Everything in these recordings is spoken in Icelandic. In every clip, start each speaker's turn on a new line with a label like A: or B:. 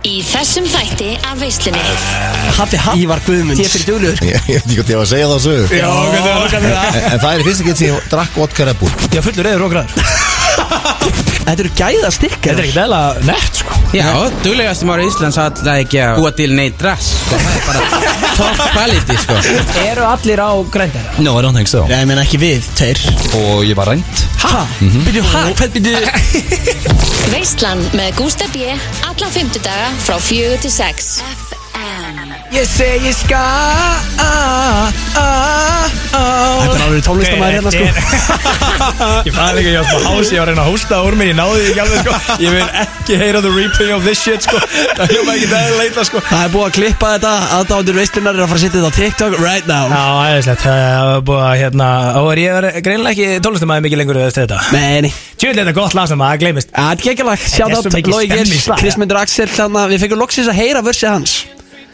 A: Í þessum þætti af veislunni
B: Hafi hatt
C: Ívar Guðmunds.
B: Ég er fyrir dugluður
D: Ég ég veit ekki hvað ég var að segja það sögur
C: Já, hvernig var það?
D: En en það er í fyrsta gett sem ég drakk vodka Red Bull
C: Já, fullur reyður og græður
B: Þetta eru gæða stikkar
C: Þetta er ekkert eðla nett, sko
E: Já, duglegast maður í Íslands alltaf ekki að búa til neitt drass sko. Það er bara top quality sko.
C: Eru allir á grændara?
F: No, I don't think so
B: Já, ég meina ekki við, tveir
F: Og ég var rænt Mhm.
C: Ha? Byrju, ha? Hvað byrju?
A: Veislan með Gústa B Alla fymtudaga frá fjögur til sex
C: Ég segi ska
B: Þetta er alveg tónlistamæður hérna, sko
G: Ég fann líka, ég var svona hás, ég var að reyna að hósta úr mér, ég náði því ekki alveg sko Ég vil ekki heyra the replay of this shit sko Það hljóma ekki það að leita sko
B: Það er búið að klippa þetta Aðdándur veislunar er að fara að setja þetta á TikTok right now
G: Já, æðislegt, það var búið að hérna Ó, er ég verið greinlega ekki tónlistamæði mikið lengur eftir þetta
B: Nei, nei
G: Tjóðlega þetta er gott lasnum að það gleymist
B: Það er geggjalag
G: Það
B: Sjátt
G: er svo
B: átt
G: mikið
B: Lói Geirs
G: stemningslag.
B: Krismundur Axel Þannig að við fengum loksins að heyra vörsið hans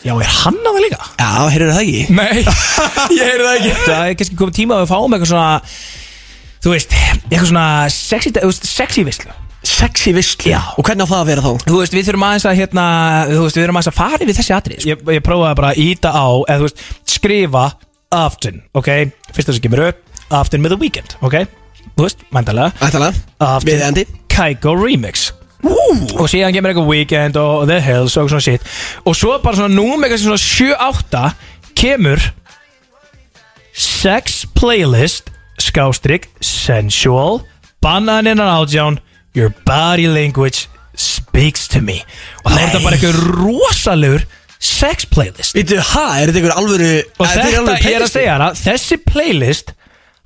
G: Já, er hann á það líka?
B: Já, heyrðu það ekki
G: Nei, ég heyri það ekki Það er kannski komið tíma að við fáum eitthvað svona Þú veist, eitthvað svona sexy, þú veist, sexy vislu
B: Sexy visslu
G: Já.
B: Og hvernig á það að vera þá?
G: Þú veist, við þurfum aðeins að hérna Þú veist, við þurfum aðeins að fara yfir þessi atrið sko. ég, ég prófaði bara að íta á eða þú veist, skrifa aftin, ok Fyrsta sem kemur upp, aftin með the weekend, ok Þú veist, mæntalega
B: Ættalega
G: Aftin,
B: Við endi
G: Kaiko Remix Og síðan kemur eitthvað Weekend og The Hills og svona shit Og svo bara svona númer kannski svona 7-8 Kemur Sex Playlist Skástrík Sensual Bananin and Outdown Your Body Language Speaks to Me Og það er þetta bara eitthvað rosalegur Sex Playlist
B: Býtu, ha, er þetta einhver alvöru
G: Og
B: er
G: þetta,
B: einhver alvöru
G: ég er að
B: playlist?
G: segja hana Þessi playlist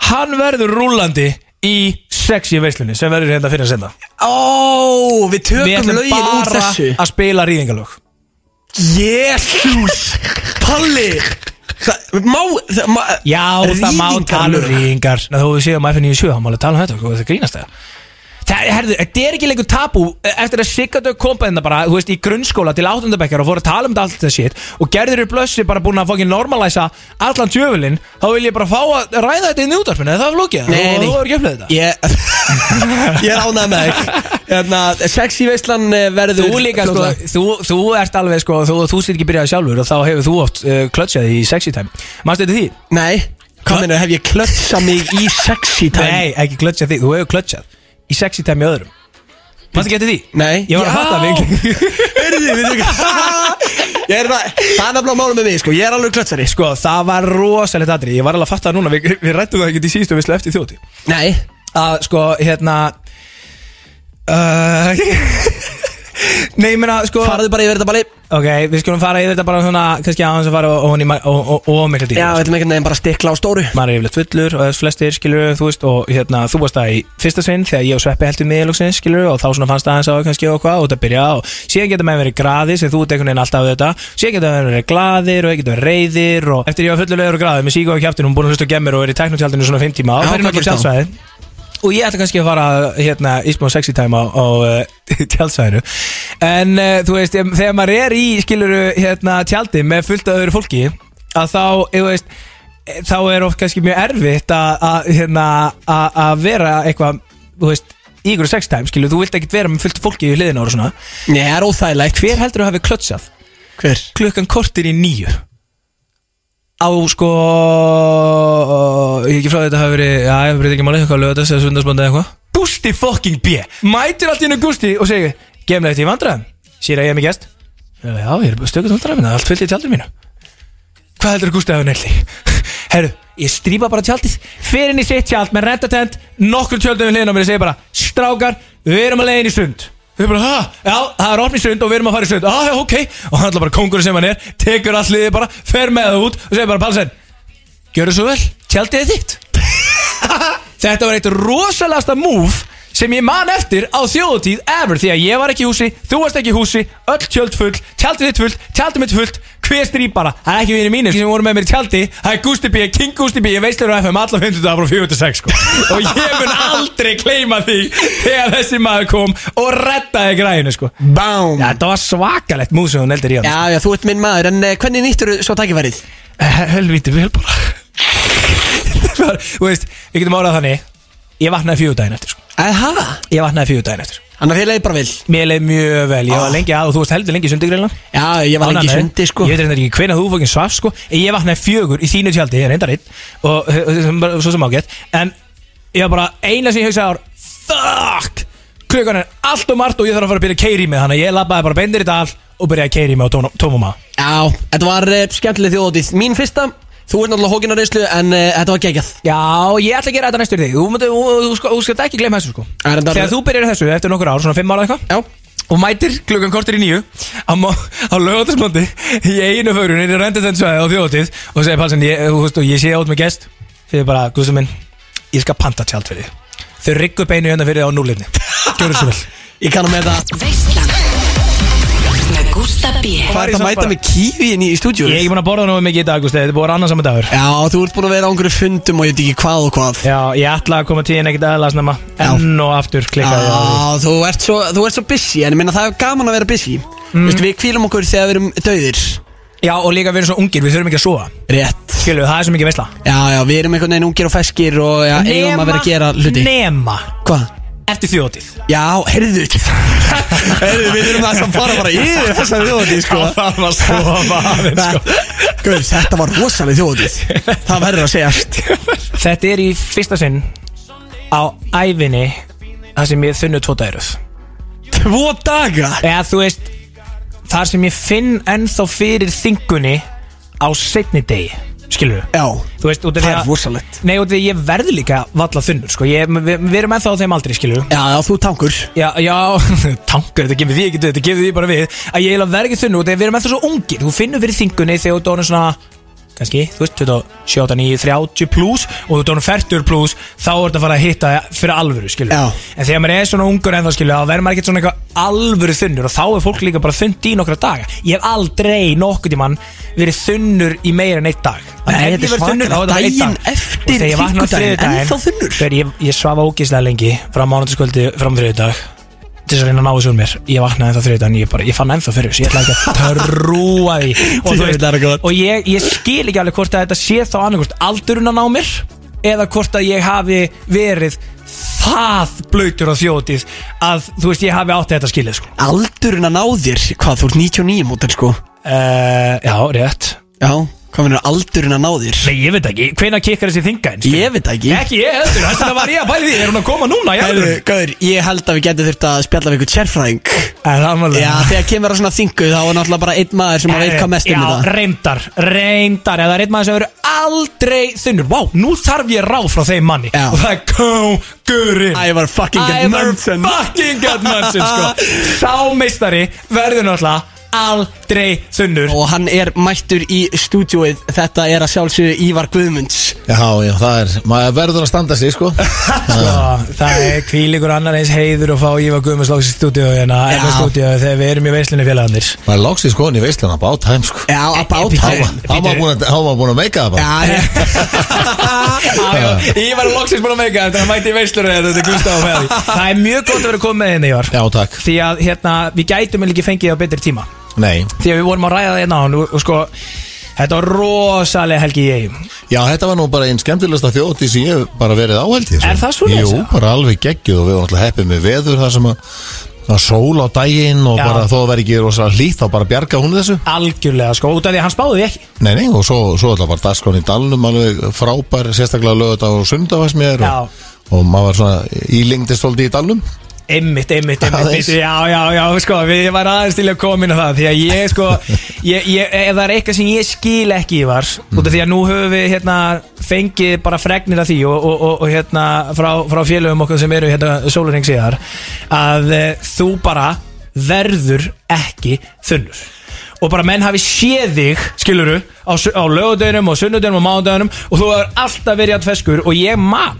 G: Hann verður rúlandi í sexi veislunni sem verður hérna fyrir að senda
B: Ó, við
G: Við
B: tökum
G: ætlum
B: lögin úr
G: bara
B: þessu
G: að spila rýðingalög
B: Jésús Palli Það má, það, má
G: Já, það má tala um
B: Rýðingarlög.
G: rýðingar Ná, Þú séum FN97, hann má alveg tala um þetta sko, Það grínast það Það, herðu, þetta er ekki lengur tabú e, Eftir að Sigardau kom bara hérna bara Þú veist, í grunnskóla til áttundabekkar Og fóru að tala um þetta allt þetta shit Og gerður eru blössi bara búin að fokkin normalæsa Allan djöfulinn Þá vil ég bara fá að ræða þetta inn í útvarpinu Það er flókið,
B: Nei,
G: þú
B: nei.
G: þú er ekki upplega þetta
B: Ég, ég er ánægð með þig Hérna, sexy veislan eh, verður
G: Þú líka, sko,
B: fljótlega.
G: þú, þú ert alveg, sko Þú, þú sér ekki byrjað sjálfur Og þá hefur þú oft uh, klötsjað í sexy time Manstu þetta því?
B: Nei, hvað meina, hef ég klötsa mig í sexy time?
G: Nei, ekki klötsjað því, þú hefur klötsjað Í sexy time í öðrum Manstu ekki eftir því?
B: Nei
G: Ég var að fatta mig
B: Hörðu, við þau Ég er það, það er nefnilega málum með mig, sko Ég er alveg klötsari, sko
G: Sko, það var rosalegt aðri Ég var alveg að fatta það núna Við, við rættum það ekki í síðustu vislu eftir þjóti
B: Nei
G: Að, sko, hérna uh, Nei, ég meina, sko
B: Farðu bara yfir þetta balli
G: Ok, við skulum fara yfir þetta bara svona Kannski aðeins að fara og, og, og, og, og mikla
B: Já,
G: dýra
B: við ætlum einhvern veginn bara að stikla á stóru
G: maður er yfirleitt fullur og þess flestir skilur þú veist og hérna þú varst það í fyrsta sinn þegar ég og Sveppi heldum miðlóksinn skilur og þá svona fannst það aðeins á kannski og hvað og þetta byrja og síðan geta maður verið graði sem þú ert einhvern veginn alltaf þetta síðan geta maður verið glaðir og geta verið reyðir og eftir ég var fullur leður og graði með síku á kjæftin hún búin að hlusta og gemmir og er í teknotjaldinu svona 5
B: Já,
G: tíma og fyrir
B: hvað
G: nokkuð
B: gerist þá?
G: tjaldsvæði og ég ætla kannski að fara hérna í smá sexy time á, á uh, tjaldsvæðinu en uh, þú veist, em, þegar maður er í skiluru hérna tjaldi með fullt af öðru fólki að þá, þú veist eh, þá er oft kannski mjög erfitt að- að hérna, að- að vera eitthvað, þú veist í ykkur sexy time, skilur, þú vilt ekkert vera með fullt af fólki í hliðina og svona,
B: Nei, það er óþægilegt
G: hver heldur að hafi klötsað
B: Hver?
G: klukkan kortir í nýju á sko ég er ekki frá því að þetta hafi verið já, ég breyt ekki máli, eitthvað lögða þess að svundasbanda eða eitthvað Gústi fucking B mætir allt í hennu Gústi og segir gemlega þetta í vandræðum, sér að ég er með gest já, já, ég er stökuð vandræðum minna, allt fyllt í tjaldur mínu hvað heldur Gústi að hafa nefnli herru, ég strýpa bara tjaldið fer inn í sitt tjald með rendatent nokkur tjöldum við hliðin á mér og segir bara strákar, við erum að leiðin í sund Þau bara, hæ, já, það er opnið sund og við erum að fara í sund ah, já, ok, og hann ætla bara kongur sem hann er tekur allt liðið bara, fer með það út og segir bara, Pálsen, gjörðu svo vel tjaldið er þitt Þetta var eitt rosalasta move sem ég man eftir á þjóðutíð ever því að ég var ekki í húsi, þú varst ekki í húsi öll tjöld full, tjaldið þitt fullt, tjaldið mitt fullt hver strýp bara, það er ekki vinni mínir sem voru með mér í tjaldi, það er Gusti B, King Gusti B ég veistlur á FM alla 50 dagar frá 46 sko. og ég mun aldrei kleima því þegar þessi maður kom og rettaði græðinu sko.
B: Bám
G: Já, þetta var svakalegt mús sem hún eldir í hann
B: Já, já, þú ert minn maður, en eh, hvernig nýttur svo tækifærið?
G: helvítið Eh, vel bara Það var- þú veist, við getum árað þannig ég vaknaði fjögur daginn eftir sko.
B: Aha,
G: ég vaknaði fjögur daginn eftir
B: Þannig að þér leiði bara vil
G: Mér leið mjög vel, ég var
B: Ah.
G: lengi að og þú varst heldur lengi í sundi greinlega
B: Já, ég var lengi í sundi sko
G: Ég veit reyndar ekki hvenær þú fókin svaf sko En Ég vaknaði fjögur í þínu tjaldi, ég er reyndar einn Og og- og- sem bara- svo sem ágætt En ég var bara eina sem ég hugsaði var Fuck Klukkan er allt og margt og ég þarf að fara að byrja að keiri mig Þannig að ég labbaði bara beindir í dal Og byrjaði að keiri mig á tónum- tómum að
B: Já, þetta var uh, skemmtileg þjóðatíð Mín fyrsta, þú ert náttúrulega hókin á reynslu En uh, þetta var geggjað
G: Já, ég ætla að gera þetta næstur þig Þú, myndir- þú, þú, sko- þú skalt ekki glemma þessu sko
B: Það er enda-
G: Þegar þú byrjar í þessu eftir nokkur ár, svona fimm ára eitthvað
B: Já,
G: og mætir klukkan kortir í nýju á, mó- á lögatarsmandi í einu fögrun inn í rendetennsvæði á þjóðatíð og segir Pálsson, ég, þú veist, og ég sé át með gest segir bara, Guðsum minn, ég skal panta tjald fyrir þig þau riggu beinu hérna fyrir þig á núlefni gjörðu svo vel
B: ég kannum með það
F: Veislan Með Gústa B
B: Hvað er það að mæta með kífin í, í stúdíu?
G: ég er ekki búin að borða nógu mikið í dag, Guðsum, þetta er búin að vera annan saman dagur
B: Já, þú ert búin að vera á einhverju fundum og ég veit ekki hvað og hvað
G: já, ég ætla að koma tíðin ekkert aðeins nema enn og aftur klikkaði ég á því.
B: Já, þú ert svo, þú ert svo busy En ég minna það er gaman að vera busy mm. Vistu, við kvílum okkur þegar við erum dauðir
G: já, og líka við erum svo ungir, við þurfum ekki að sofa
B: Rétt
G: skilu, það er svo mikið veisla
B: Já, já, við erum einhvern veginn ungir og feskir og já, eigum að vera að gera hluti
G: nema
B: Hvað?
G: eftir þjóðatíð
B: Já, heyrðu Heyrðu, við erum það að fara bara yfir þessa þjóðatíð, sko
G: það var sofa aðeins, sko.
B: Guð, þetta var rosaleg þjóðatíð Það verður að segjast
G: Þetta er í fyrsta sinn á ævinni þar sem ég þunnu tvo dæruð
B: Tvo daga
G: eða þú veist þar sem ég finn ennþá fyrir þingunni á setni degi skilur
B: Já,
G: þú veist út
B: það
G: af því
B: er hérna-
G: að
B: rosalegt
G: Nei, út af því að ég verð líka valla þunnur sko. ég, við, við erum ennþá á þeim aldrei skilur
B: Já, já, þú tankur
G: Já, já, tankur, þetta gefur því ekki þetta gefur því bara við að ég eiginlega verð ekki þunnu út af því að við erum ennþá svo ungir þú finnur fyrir þingunni þegar þú dónur svona kannski, þú veist, 27, 9, 30 pluss og þú dónur 40 pluss þá er þetta að fara að hitta fyrir alvöru, skilur
B: Já.
G: en þegar maður er svona ungur ennþá, skilur þá verður maður ekkert svona eitthvað alvöru þunnur og þá er fólk líka bara þund í nokkra daga ég hef aldrei nokkuð í mann verið þunnur í meira en eitt dag
B: Nei, þetta
G: En ef
B: er
G: ég verð
B: svakalegt.
G: þunnur, þá er þetta bara einn
B: Daginn
G: dag.
B: eftir
G: Og þegar ég vakna á
B: fimmtudaginn,
G: þriðjudaginn,
B: ennþá þunnur.
G: þegar ég, ég svafa ógeðslega lengi frá mánudaskvöldi fram þriðudag til þess að reyna að ná þessu úr mér ég vaknaði ennþá þriðudag en ég bara, ég fann ennþá fyrir þessu ég ætla ekki að trúa því og, þú
B: Þetta er gott.
G: og ég, ég skil ekki alveg hvort að þetta sé þá annarkvort aldurinn að ná mér eða hvort að ég hafi verið það blöytur á þjótið að þú veist ég hafi átt þetta skilið sko.
B: Aldurinn að ná þér, hvað, þú ert 99 mótel, sko
G: uh, já, rétt
B: Já, hvað finnur aldurinn að ná þér?
G: Nei, ég veit ekki, hvenær kikkar þessi þinga eins
B: Ég veit það ekki
G: Ekki ég heldur, þess vegna var ég að bæli því, er hún að koma núna í
B: Heyrðu,
G: alvöru?
B: Gaur, ég held að við getum þurft að spjalla við einhvern sérfræðing
G: En það var
B: Já, þegar kemur á svona þingu þá er náttúrulega bara einn maður sem að veit hvað mest um
G: Já,
B: þetta
G: reyndar, reyndar Eða það er einn maður sem verður aldrei þunnur Vá, nú þarf ég ráð frá þeim manni
B: Já.
G: Og það er kóngurinn
B: Ævar fucking Edmundsen.
G: Ævar fucking Edmundsen, sko Sá meistari verður náttúrulega aldrei þunnur
B: Og hann er mættur í stúdíóið Þetta er að sjálfsögðu Ívar Guðmunds
D: Já, já, það er, maður verður að standa sig, sko
G: Já, það er kvílíkur annar eins heiður og fá Ívar Guðmunds Lóks í stúdíu hérna,
B: Já.
G: FM stúdíu, þegar við erum í veislinni félagarnir
D: Maður er loksins sko í veislun að bát hæm, sko
B: Já,
G: E-
B: að báta
D: Há maður búin að- þá var búin að meika það bara
B: Já,
G: Ívar er loksins búin að meika þetta, hann mætti í veislunni þetta er Gustaf og Fæði Það er mjög gott að vera komið með henni Ívar
D: Já, takk
G: því að hérna, við gætum eiginlega ekki fengið á betri tíma
D: Nei
G: því að við vorum að ræða það hérna á hann og, og sko, þetta var rosalega helgi í eigum
D: Já, þetta var nú bara einn skemmtilegsta þjóti sem ég hef bara verið áhældi
G: Er það svoleiðis,
D: Jú,
G: já?
D: bara alveg geggjuð og við varum alltaf heppið með veður þar sem að að sól á daginn og
G: Já.
D: bara þó að vera ekki rosalega hlýtt þá bara bjarga hún þessu
G: algjörlega sko, út af því að hann spáði því ekki
D: Nei, nei, og svo, svo alltaf var dagskráin í dalnum alveg frábær, sérstaklega lögðað og sundavast mér
G: Já.
D: og, og maður var svona ílengdist svolítið í dalnum
G: Einmitt, einmitt, einmitt,
D: Aðeins.
G: einmitt Já, já, já, sko, við var aðeins til að koma inn á það Því að ég, sko, ég, ég, ef það er eitthvað sem ég skil ekki í var Út af því að nú höfum við, hérna, fengið bara fregnir af því Og, og, og, og hérna, frá, frá félögum okkur sem eru, hérna, sólurring síðar Að e, þú bara verður ekki þunnur Og bara menn hafi séð þig, skiluru, á, su- á lögudeginum og sunnudeginum og mánudeginum Og þú hefur alltaf verið að feskur og ég man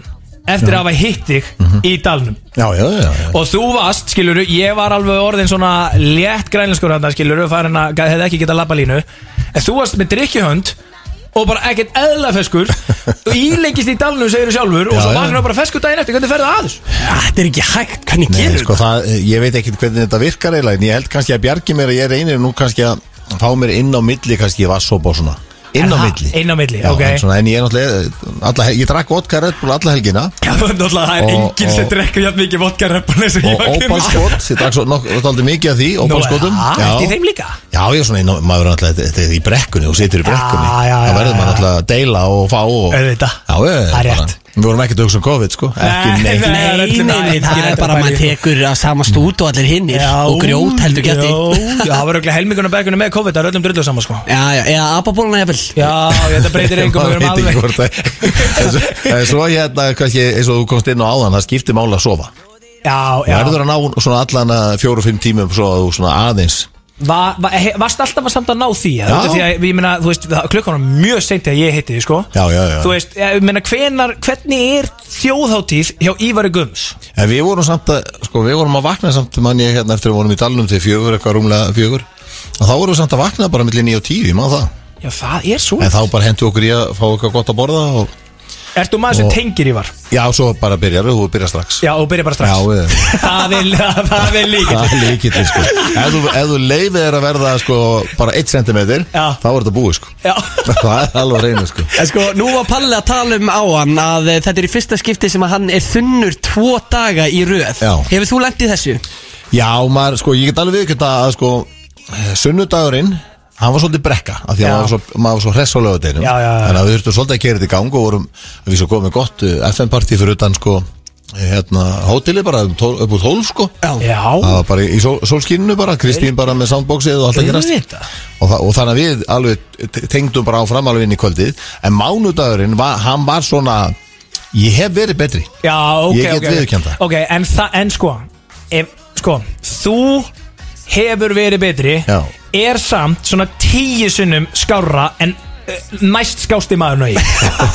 G: eftir að hafa hitt þig í dalnum
D: Já, já, já, já.
G: Og þú varst, skiluru, ég var alveg orðin svona létt grænlenskur hann, skiluru, farin að gæ- hefði ekki getað labba línu En þú varst með drikkjuhönd og bara ekkert eðla feskur og ílengist í dalnum, segir þú sjálfur og
D: Já,
G: svo
D: já.
G: vaknar bara feskur daginn eftir, hvernig ferðu að þessu?
B: þetta er ekki hægt, hvernig
D: Nei,
B: gerur
D: sko, það, ég veit ekkit hvernig þetta virkar eiginlega en ég held kannski að bjargi mér að ég reynir nú kannski að fá mér inn á milli kannski vatnsópa og svona inn á
G: Er það?
D: milli
G: Inn á milli,
D: Já,
G: ok.
D: en, svona, en ég er náttúrulega alla, hel- Ég drakk vodka Red Bull alla helgina
G: Náttúrulega það er
D: Og-
G: enginn sem
D: og-
G: drekkur jafn mikið vodka reppan eins og ég
D: Og
G: var
D: ópalskot Ég drakk svo náttúrulega mikið af því Ópalskotum
G: Það er í þeim líka
D: Já, ég er svona, inn á- maður er náttúrulega þetta er í brekkunni og situr í brekkunni
G: Já, já, já,
D: Það verður
G: já,
D: maður
G: já.
D: náttúrulega að deila og fá og...
G: Auðvitað.
D: Já, ég,
G: Það er
D: bara-
G: rétt.
D: Við vorum ekkert að hugsa um COVID, sko Ekki
G: Nei,
D: neitt
G: nei.
B: Nei, nei, nei, það er bara að maður tekur að sama stút og allir hinnir og grjót heldur geti
G: Já, það var auðvitað helmingunum bergunum með COVID Það er öllum drullu saman sko
B: Já, já, eða apabóluna jafnvel
G: Já, ég, þetta breytir engum
D: Maður
G: Við
D: veit
G: erum
D: ekki
G: alveg
D: hvort það En Svo hérna, kannski, eins og þú komst inn á áðan Það skiptir mála að sofa
G: Já,
D: Já.
G: já
D: Verður að ná svona allan að fjóru-fimm tímum Svo að þú svona aðeins
G: Va- va- he- Varst alltaf að samt að ná því
D: Já.
G: eða? Út af Því að, ég meina, þú veist, það- klukkan var mjög seint þegar ég hitti því, sko
D: Já, já, já
G: Þú veist, ég meina, hvenar, hvernig er þjóðháttíð hjá Ívari Gums?
D: En við vorum samt að, sko, við vorum að vakna samt mann ég hérna eftir að við vorum í dalnum til fjögur, eitthvað rúmlega fjögur og þá vorum við samt að vakna bara millir 9 og 10, ég maður það
G: Já, það er svo
D: en þá bara hendu okkur í að fá eitthvað gott að borða og
G: Ertu maður sem
D: Og-
G: tengir Ívar?
D: já, svo bara byrjar, þú byrjar strax
G: Já, og byrja bara
D: já
G: strax
D: við,
G: Það er, það er líka
D: það er líkitin, sko ef þú, ef þú leifir þér að verða, sko, bara 1 cm
G: Já.
D: þá er þetta búið, sko
G: Já,
D: það er alveg reynu, sko
B: En sko, nú var Palli að tala um áan að eh, þetta er í fyrsta skipti sem að hann er þunnur tvo daga í röð
D: Já.
B: Hefur þú lengt í þessu?
D: já, maður, sko, ég get alveg viðkjönda að, sko, sunnudagurinn hann var svolítið brekka, af því að
G: Já.
D: maður var svo, maður var svo hress á lögadeinum
G: Já, já, já.
D: þannig að við þurftum svolítið að kera þetta í gang og vorum við svo komum með gott eh, FN-partí fyrir utan sko hérna, hóteli bara um tól, upp úr tólf sko
G: já
D: það var bara í sól, sólskíninu bara Kristín bara með soundboxið og allt að gerast
G: Auðvitað.
D: og, það, og þannig að við alveg t- tengdum bara áfram alveg inn í kvöldið en mánudagurinn, var, hann var svona ég hef verið betri
G: Já, ok,
D: Ég get
G: ok, ok.
D: viðurkennt það.
G: Ok, en, þa en sko ef, Sko, þú hefur verið betri
D: Já.
G: Er samt svona tíu sunnum skárra En eh, næst skásti maður nögi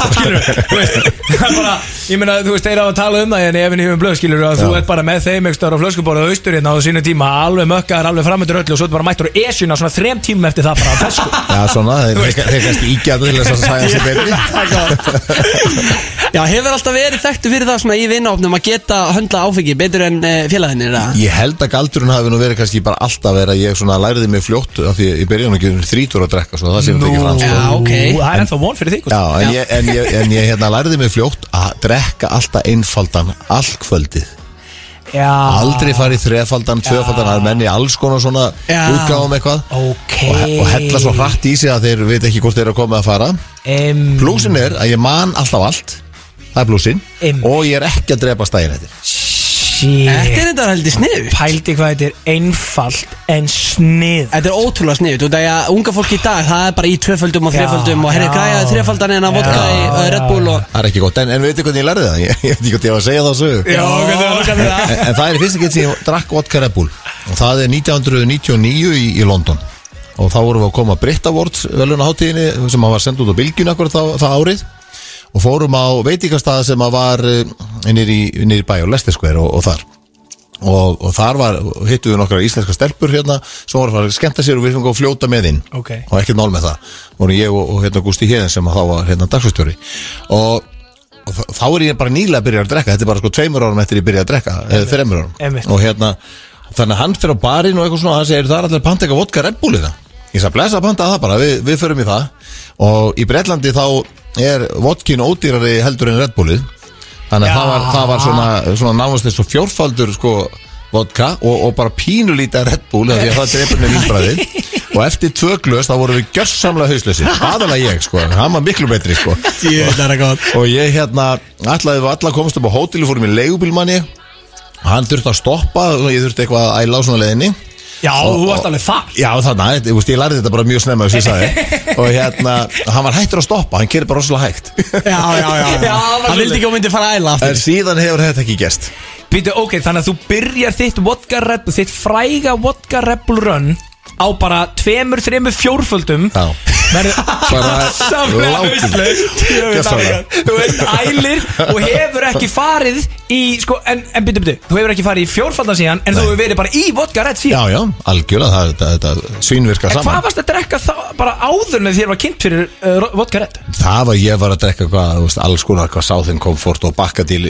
G: skilur við það er bara, ég meina þú veist þeir hafa að tala um það en ef við hefum blöð skilur að þú
D: Já.
G: ert bara með þeim ekki stöður á flöskuborðu austur hérna á sínu tíma alveg mökkaðar, alveg framöndur öllu og svo er bara mættur og esjuna svona þrem tímum eftir það bara að fesku
D: já svona, þeir- þeir þeir kannski ígjæðu til þess að sæja sér betri
B: Já, hefur alltaf verið þekktu fyrir það svona í vinnáfnum að geta höndla áfengi betur en uh, félaginir eða?
D: Ég held að galdurinn hafi nú verið kannski bara alltaf verið að ég svona læriði mig fljótt af því í byrjunum getur þrítur að drekka svo það sé þetta ekki fram sko.
B: Já, ok.
G: það er ennþá von fyrir þig sko.
D: Já, en ég, en ég, en ég hérna, læriði mig fljótt að drekka alltaf einfaldan all kvöldið
G: Já.
D: Aldrei farið þrefaldan, tvöfaldan, það er menni alls konar svona
B: Já.
D: útgáðum eitthvað
G: Ok
D: og, he- og hella svo hratt í sig að þeir veit ekki hvort þeir eru að koma að fara
G: Em,
D: Blúsin er að ég man alltaf allt, það er blúsin
G: Einmitt.
D: og ég er ekki að drepa stæðin eftir
B: Þetta
G: Shit
B: er þetta heldur sniðu
G: Pældi hvað þetta er einfalt en snið
B: Þetta er ótrúlega sniðut og það er að unga fólk í dag það er bara í tvöföldum og
G: Já,
B: þreföldum og herri
G: já.
B: græjaði þreföldan en að vodka í
G: Já,
B: uh, Red Bull og
D: Það er ekki gott, en, en veitir hvernig ég lærði það? Ég, ég veit ekki hvort ég var að segja það á sögu
G: Já, hvernig var það?
D: En- en, en það er í fyrsta gett sem ég drakk vodka Red Bull og það er 1999 í, í London og þá vorum við að koma Brit Awards velunaháttíðinni sem að var send út á Bilgjun akkur það, það árið og fórum á veitingastað sem að var innir í, innir í bæ og Lestersquare og, og þar og, og þar var, hittum við nokkra íslenska stelpur hérna sem voru að fara að skemmta sér og við fengum að fljóta með inn
G: Ok.
D: og ekkert mál með það voru ég og, og hérna Gústi Héðin sem að þá var hérna dagsfjöstjóri og, og þa- þá er ég bara nýlega að byrja að drekka þetta er bara sko tveimur árum eftir ég byrja að drekka eða þreimur árum
G: Einmitt.
D: og hérna þannig að hann fyrir á barinn og eitthvað svona og hann segir það er allir að panta eitthvað vodka Red Bull í það ég sagði blessa að panta það bara, við, við förum í það og í Bretlandi þá er vodkin ódýrari heldur en Red Bullið þannig að það var, það var svona, svona náðast eins og fjórfaldur sko vodka og, og bara pínulítið af Red Bull af því að það drefur með vínbræðið og eftir tvö glös þá vorum við gjörsamlega hauslösi aðalega ég sko, en hann var miklu betri sko og ég hérna ætlaði við alla komast upp á hótel og fórum í leigubílmanni og hann þurfti að stoppa og ég þurfti eitthvað að æla á svona leðinni
G: Já, þú varst alveg þar
D: Já þarna, ég, ég, ég lærði þetta bara mjög snemma þess að ég sagði og hérna, hann var hættur að stoppa hann kerir bara rosalega hægt
B: Já, já, já,
G: Já, það var
B: Hann vildi ekki að myndi fara að æla
D: en
B: aftur
D: síðan hefur þetta ekki gerst
G: Býtu, ok, þannig að þú byrjar þitt vodka rebel, þitt fræga vodka rebel run á bara tveimur, þreimur, fjórföldum
D: Já.
G: verður
D: Bara
G: samlega
D: látið.
G: hauslaus
D: Gjörsamlega.
G: Þú veist, ælir og hefur ekki farið í, sko, en, en býtu, býtu þú hefur ekki farið í fjórfaldan síðan en þú hefur verið bara í vodka red síðan
D: Já, já, algjörlega, það, þetta, þetta svínvirka
G: En
D: saman
G: hvað varst að drekka þá, bara áður með þér var kynnt fyrir uh, vodka red?
D: Það var ég var að drekka hvað, þú veist, alls konar hvað Southern Comfort og Bakkadil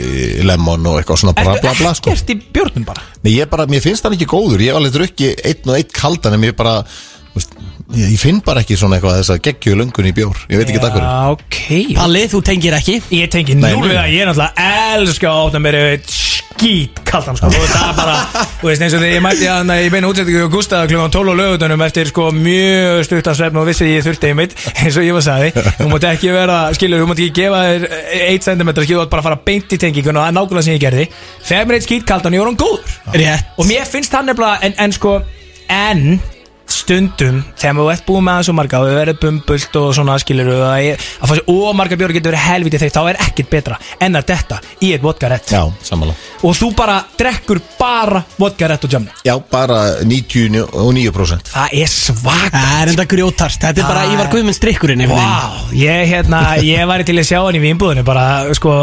D: Lemon og eitthvað svona bla
G: Ertu
D: bla bla sko.
G: ekkert í björnum bara?
D: Nei, ég bara, mér finnst það ekki góður, ég hef alveg drukki einn og einn kaldan en mér bara, þú veist, ég, ég finn bara ekki svona eitthvað þess að geggju lungun í bjór Ég veit ekki það hverju
G: ok Palli,
B: þú tengir ekki
G: Ég tengi
D: Nei,
G: núl við
D: nei.
G: það, ég er náttúrulega elska að opna mér yfir skýt kaldan sko og það er bara, þú veist eins og þegar ég mætti að ég beina útsettingu á Gústa klukkan 12 á lögutunum eftir sko mjög stuttan svefn og vissi að ég þurfti einmitt eins og ég var sagði, þú mátt ekki vera skilur, þú mátt ekki gefa þér 1 cm skilur, þú átt bara að fara beint í tengingun og það er nákvæmlega sem ég gerði þegar mér eitt skýt kaldan, ég var hann góður
B: Rétt.
G: og mér finnst hann nefnilega, en, en sko en stundum þegar þú ert búin með það svo marga og þau verður bumbult og svona skilur að, ég, að fá sér ómarga bjóri getur verið helviti þegar þá er ekkert betra en að detta í eitt vodkarett
D: Já, samanlega
G: og þú bara drekkur bara vodkarett og jamni
D: Já, bara 99%
G: það er svagt
B: Það er enda grjótart Þetta er bara
G: Það-
B: Ívar Guðmunds drikkurinn einhvern veginn.
G: Vá, ég hérna, ég væri til að sjá hann í vinnbúðinu bara, sko,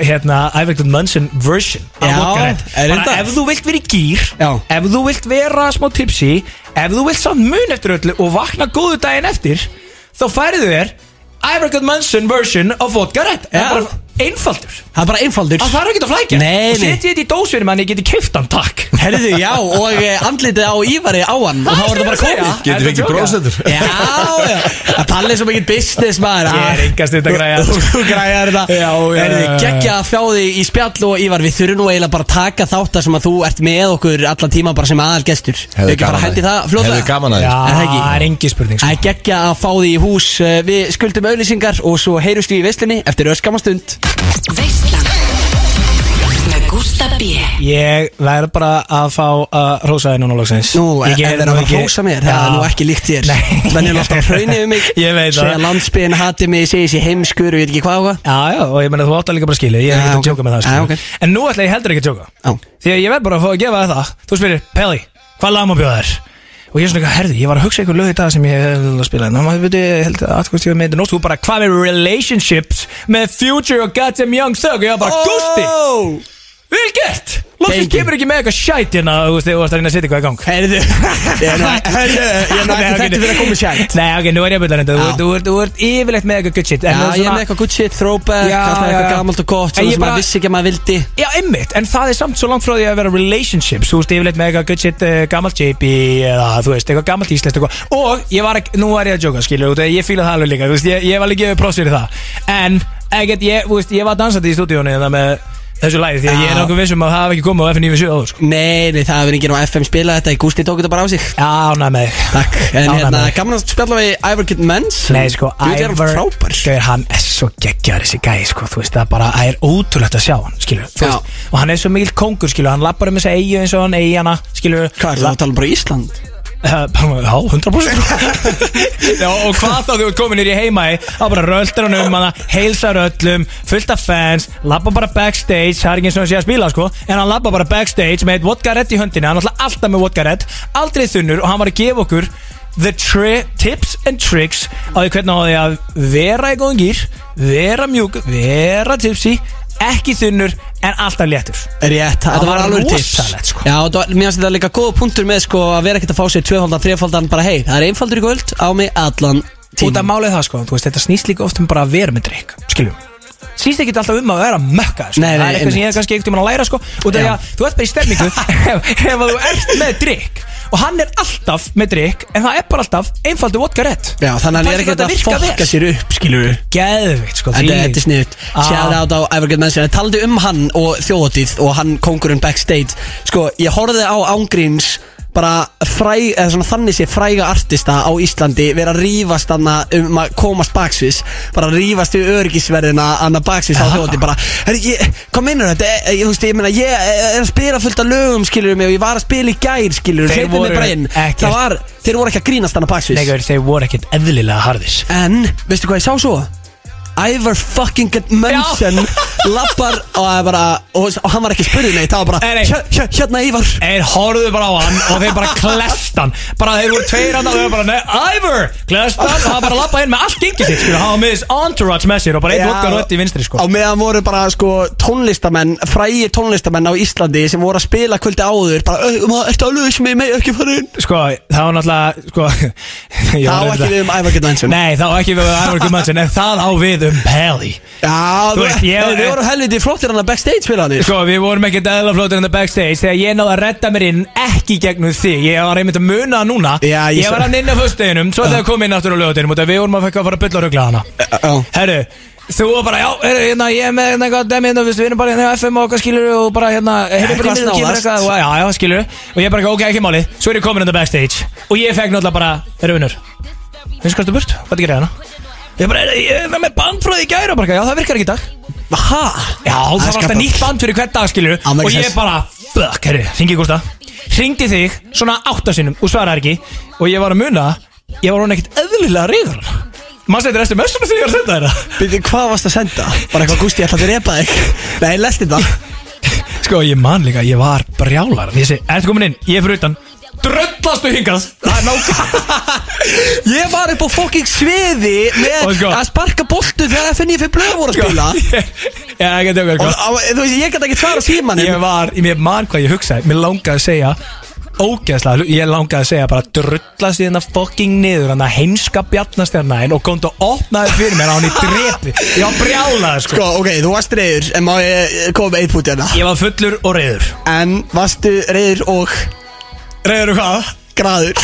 G: hérna Ivington Munson version af
B: Já,
G: vodkarett.
B: er
G: bara
B: þetta?
G: ef þú vilt vera í gýr
B: Já.
G: ef þú vilt vera smá tipsi ef þú vilt samt mun eftir öllu og vakna góðu daginn eftir þá færðu þér Ivington Munson version af vodkarett það
B: Já.
G: er bara einfaldur
B: Það er bara einfaldur
G: það þarf ekki að flækja
B: Nei,
G: og
B: nei.
G: setja þetta í dósvinum en ég geti kiftan, takk
B: Herðu, já, og eh, andlitið á Ívari á hann Og þá
G: Það
B: er það bara
G: er það að segja.
B: komið
G: Getum við ekki
D: bróðsendur?
B: Já, já, að Palli er svo mikið business maður Ah.
G: Ég er engast þetta græja.
B: Þú- Þú græjar þetta
G: Já, já,
B: Herðu,
G: já, já.
B: geggja að fjá þig í spjall og Ívar Við þurfum nú eiginlega bara að taka þátt að sem að þú ert með okkur Allan tíma bara sem aðal gestur Hefðu ekki bara hendi það fljóta
D: Hefðu gaman að
G: Já,
D: því
B: Er það ekki?
G: það er engi spurning sko.
B: Að geggja að fá þig í hús Eh, Við skuldum auðlýsingar og svo heyrust við í veislinni Eftir öskama stund
F: Veislan Með Gústa B
G: Ég verð bara að fá að rósa þér núna loksins
B: Nú,
G: Ég
B: ef
G: geri
B: það er
G: nú
B: að
G: ekki-
B: hrósa mér, það er nú ekki líkt þér
G: Nei.
B: Menn er alltaf að hraunni um mig
G: Ég veit
B: Segja
G: það.
B: landsbyrðin hati mig, segja sér heimskur og ég veit ekki hvað og
G: Já, já, og ég meina þú átt að líka bara skilið Ég er
B: Já,
G: ekkert
B: ok.
G: að tjóka með það
B: Já,
G: skilur.
B: ok.
G: En nú ætla ég heldur ekki að tjóka
B: hvað
G: Því að ég verð bara að fá að gefa þér það Þú spyrir, Peli, hvað lag má bjóða þér? Og ég er svona eitthvað, herði, ég var að hugsa eitthvað lög í dag sem ég hefði að spila Ná, maður veit, ég held að atkvæmst ég var með þetta nótt Þú bara, hvað með relationships með Future og Goddamn Young Thug Og ég var bara, Gusti, vel gert Lóksins
B: Oh! Thank you.
G: kemur ekki með eitthvað shæt hérna Þú veist, þegar þú varst að reyna að setja eitthvað í gang
B: Herðu, herðu, ég er ekki þetta fyrir að koma sjænt
G: Nei, ok, nú er ég að byrja þetta Þú
B: Já.
G: ert- Þú ert- þú ert yfirleitt með eitthvað good shit
B: Já,
G: en það
B: ég er
G: svona-
B: með eitthvað good shit, throwback,
G: Já,
B: alltaf
G: já,
B: eitthvað
G: já.
B: gamalt og gott
G: En
B: Svona
G: ég
B: sem
G: bara-
B: maður vissi ekki að maður vildi
G: Já, ymmit, en það er samt svo langt frá því að vera relationships Þú veist, yfirleitt með eitthvað good shit, uh, gammalt JP eða þú veist, eitthvað gammalt íslenskt eitthvað Og ég var ekki, nú var ég að jóka, skilur, út af því að ég fíla það alveg líka Þú veist, ég, ég var líka yfir prósir í það En, ekkert, ég, þú veist, ég var dansandi í stúdíónu það með þessu lægi Því að ég er
B: Já.
G: nokkuð vissum að það hafi ekki komið á FN97 áður, sko
B: Nei, nei, það hefur enginn á FM spilað þetta, Gústi tók þetta bara á sig
G: Já, ánægð með þig
B: Takk, en
G: Ánægð
B: hérna,
G: með þig.
B: gaman að spjalla við Ivor Kidd Mens
G: Nei, sko,
B: Þú er hann frábær
G: Gauðir, hann er svo geggjar þessi gæði, sko, þú veist, það er bara, það er ótrúlegt að sjá hann, skilur, þú
B: Já.
G: veist, og hann er svo mikill kongur, skilur, hann lappar um þessa eigu eins og hann eigi hana, skilur,
B: Hvað er það að tala bara í Ísland?
G: Já, 100% Já, og hvað þá þú ert komin í heima í þá bara röldur hann um hana, heilsar öllum fullt af fans, labba bara backstage það er ekki eins og hann sé að spila sko en hann labba bara backstage með eitt vodkarett í höndinni hann er alltaf alltaf með vodkarett, aldrei þunnur og hann var að gefa okkur the tri tips and tricks á því hvernig á því að vera í góðum gýr vera mjúk, vera tipsi ekki þunnur en alltaf léttur
B: Rétt, þetta
G: var
B: var alveg tips
G: rosalegt, sko.
B: Já, þetta var, mér finnst þetta líka góða punktur með sko að vera ekkert að fá sér tvöfaldan, þrefaldan bara hei, það er einfaldur í kvöld á mig allan
G: út af
B: tíma
G: málið það sko, þú veist, þetta snýst líka oft um bara að vera með drikk, skiljum Snýst ekki alltaf um að vera mökka sko.
B: Nei, nei,
G: Það er eitthvað sem ég
B: einmitt.
G: er kannski eitthvað að læra sko Út af því að þú ert bara í stemmingu ef, ef að þú ert með drikk Og hann er alltaf með drikk En það er bara alltaf einfaldu vodka rétt
B: Já, þannig að hann er ekkert að fokka sér upp, skilur við
G: Geðvikt sko
B: Þetta
G: því-
B: þetta er sniðut
G: Ah.
B: Shout out á Evergreen Mansion En taldi um hann og þjóðatíð og hann kongurinn backstage Sko, ég horfði á ángríns bara fræ, eða svona þannig sé fræga artista á Íslandi vera að rífast hana um að komast baksvis bara að rífast við örgisverðina hana baksvis
G: Ah.
B: á þjóti bara "Herri, ég, hvað meinar þetta, Eh, ég, þú veist, ég meina ég er að spila fullt af lögum skilur mig og ég var að spila í gær skilur
G: Þeir
B: hleypið mig
G: voru
B: bara inn
G: ekkert-
B: það var, þeir voru ekki að grínast hana baksvis
G: Nei, þeir voru ekkert eðlilega harðis
B: En, veistu hvað ég sá svo? Ivar fucking Munson lappar og, það er bara, og, og hann var ekki spurðið neitt Það var bara,
G: Nei, nei.
B: "Hér- hér- hérna Ivar
G: Þeir horfðu bara á hann og þeir bara klest hann Bara þeir voru tveir hann og þeir bara Nei, Ivor, klest hann Og hann bara lappa inn með allt gengið sitt skilur Hann var með þess entourage með sér og bara einn vodka rödd í vinstri
B: Á
G: sko
B: meðan voru bara sko tónlistamenn, frægi tónlistamenn á Íslandi sem voru að um spila kvöldi áður bara, "Ö, maður, ertu alveg sem ég megi ekki fara inn
G: Sko, það var náttúrulega sko, Ég
B: Það á
G: var
B: ekki
G: reyndar-
B: við um Ævar Getur Hansson
G: Nei, þá ekki við um Ævar Guðmannsson En það á við um Pelli
B: Já,
G: Þú veist, ég-
B: Við vorum helviti flottir hann að backstage fyrir hann
G: Sko, við vorum ekkert eðla flótur en það backstage Þegar ég náði að redda mér inn ekki í gegnum þig Ég var einmitt að muna það núna
B: Já, ég
G: ég,
B: sá-
G: var hann inn á föstudeginum Svo þegar kom inn aftur á lögudeginum Og við vorum að fækka að fara að bylla ruggla hana Herru, þú var bara, já, herru, hérna, ég er með hérna eitthvað dæmi hérna, við erum bara hérna á FM og okkar skilur og bara hérna, herru, bara
B: Eitthvað
G: í miðum
B: snáðast.
G: kemur eitthvað, og, já, já, skilur og ég bara, ok, ekki máli, svo er ég komin undan backstage og ég fekk náttúrulega bara, herru, vinnur finnst hvað stu burt, hvað er hérna ég bara, "Heyrðu, ég er með bandfröð í gæra bara, já, það virkar ekki í dag
B: Hæ?
G: já, það var
B: skapar-
G: alltaf nýtt band fyrir hvert dag, skilur
B: Á, maður
G: og ég
B: sess.
G: bara, fuck, herru, ringi Gústa ringdi þig, svona áttasinnum og svaraði ekki, og ég var að muna ég var hún ekkert eðlilega reyður Manstu þetta restu messunum þegar ég var að senda þetta?
B: Býttu, hvað varst að senda? Var eitthvað gústi, ég ætla að repa þig Nei, ég lesti það
G: Sko, ég man líka, ég var brjálar Ég segi, ertu komin inn, ég er fyrir utan Dröllastu hingað Það er nákvæm
B: Ég var upp á fokking sviði
G: Og
B: með
G: sko-
B: að sparka boltu þegar FNF blöð voru að spila
G: Já, ekki að tjóka
B: Og
G: sko.
B: á- þú veist, ég get ekki svara síman
G: Ég var, ég man hvað ég hugsaði Mér langaði að segja Ógeðslega, hlu- ég langaði að segja bara drullast í þennan fucking niður hann að heimska bjarnastjarnæðin og komdu og opnaði fyrir mér á hann í drepi ég var brjálaði sko.
B: Sko, ok, þú varst reyður En má ég eh, koma með eitt púti hérna
G: ég var fullur og reyður
B: En varstu reyður og
G: reyður
B: um
G: og hvað?
B: graður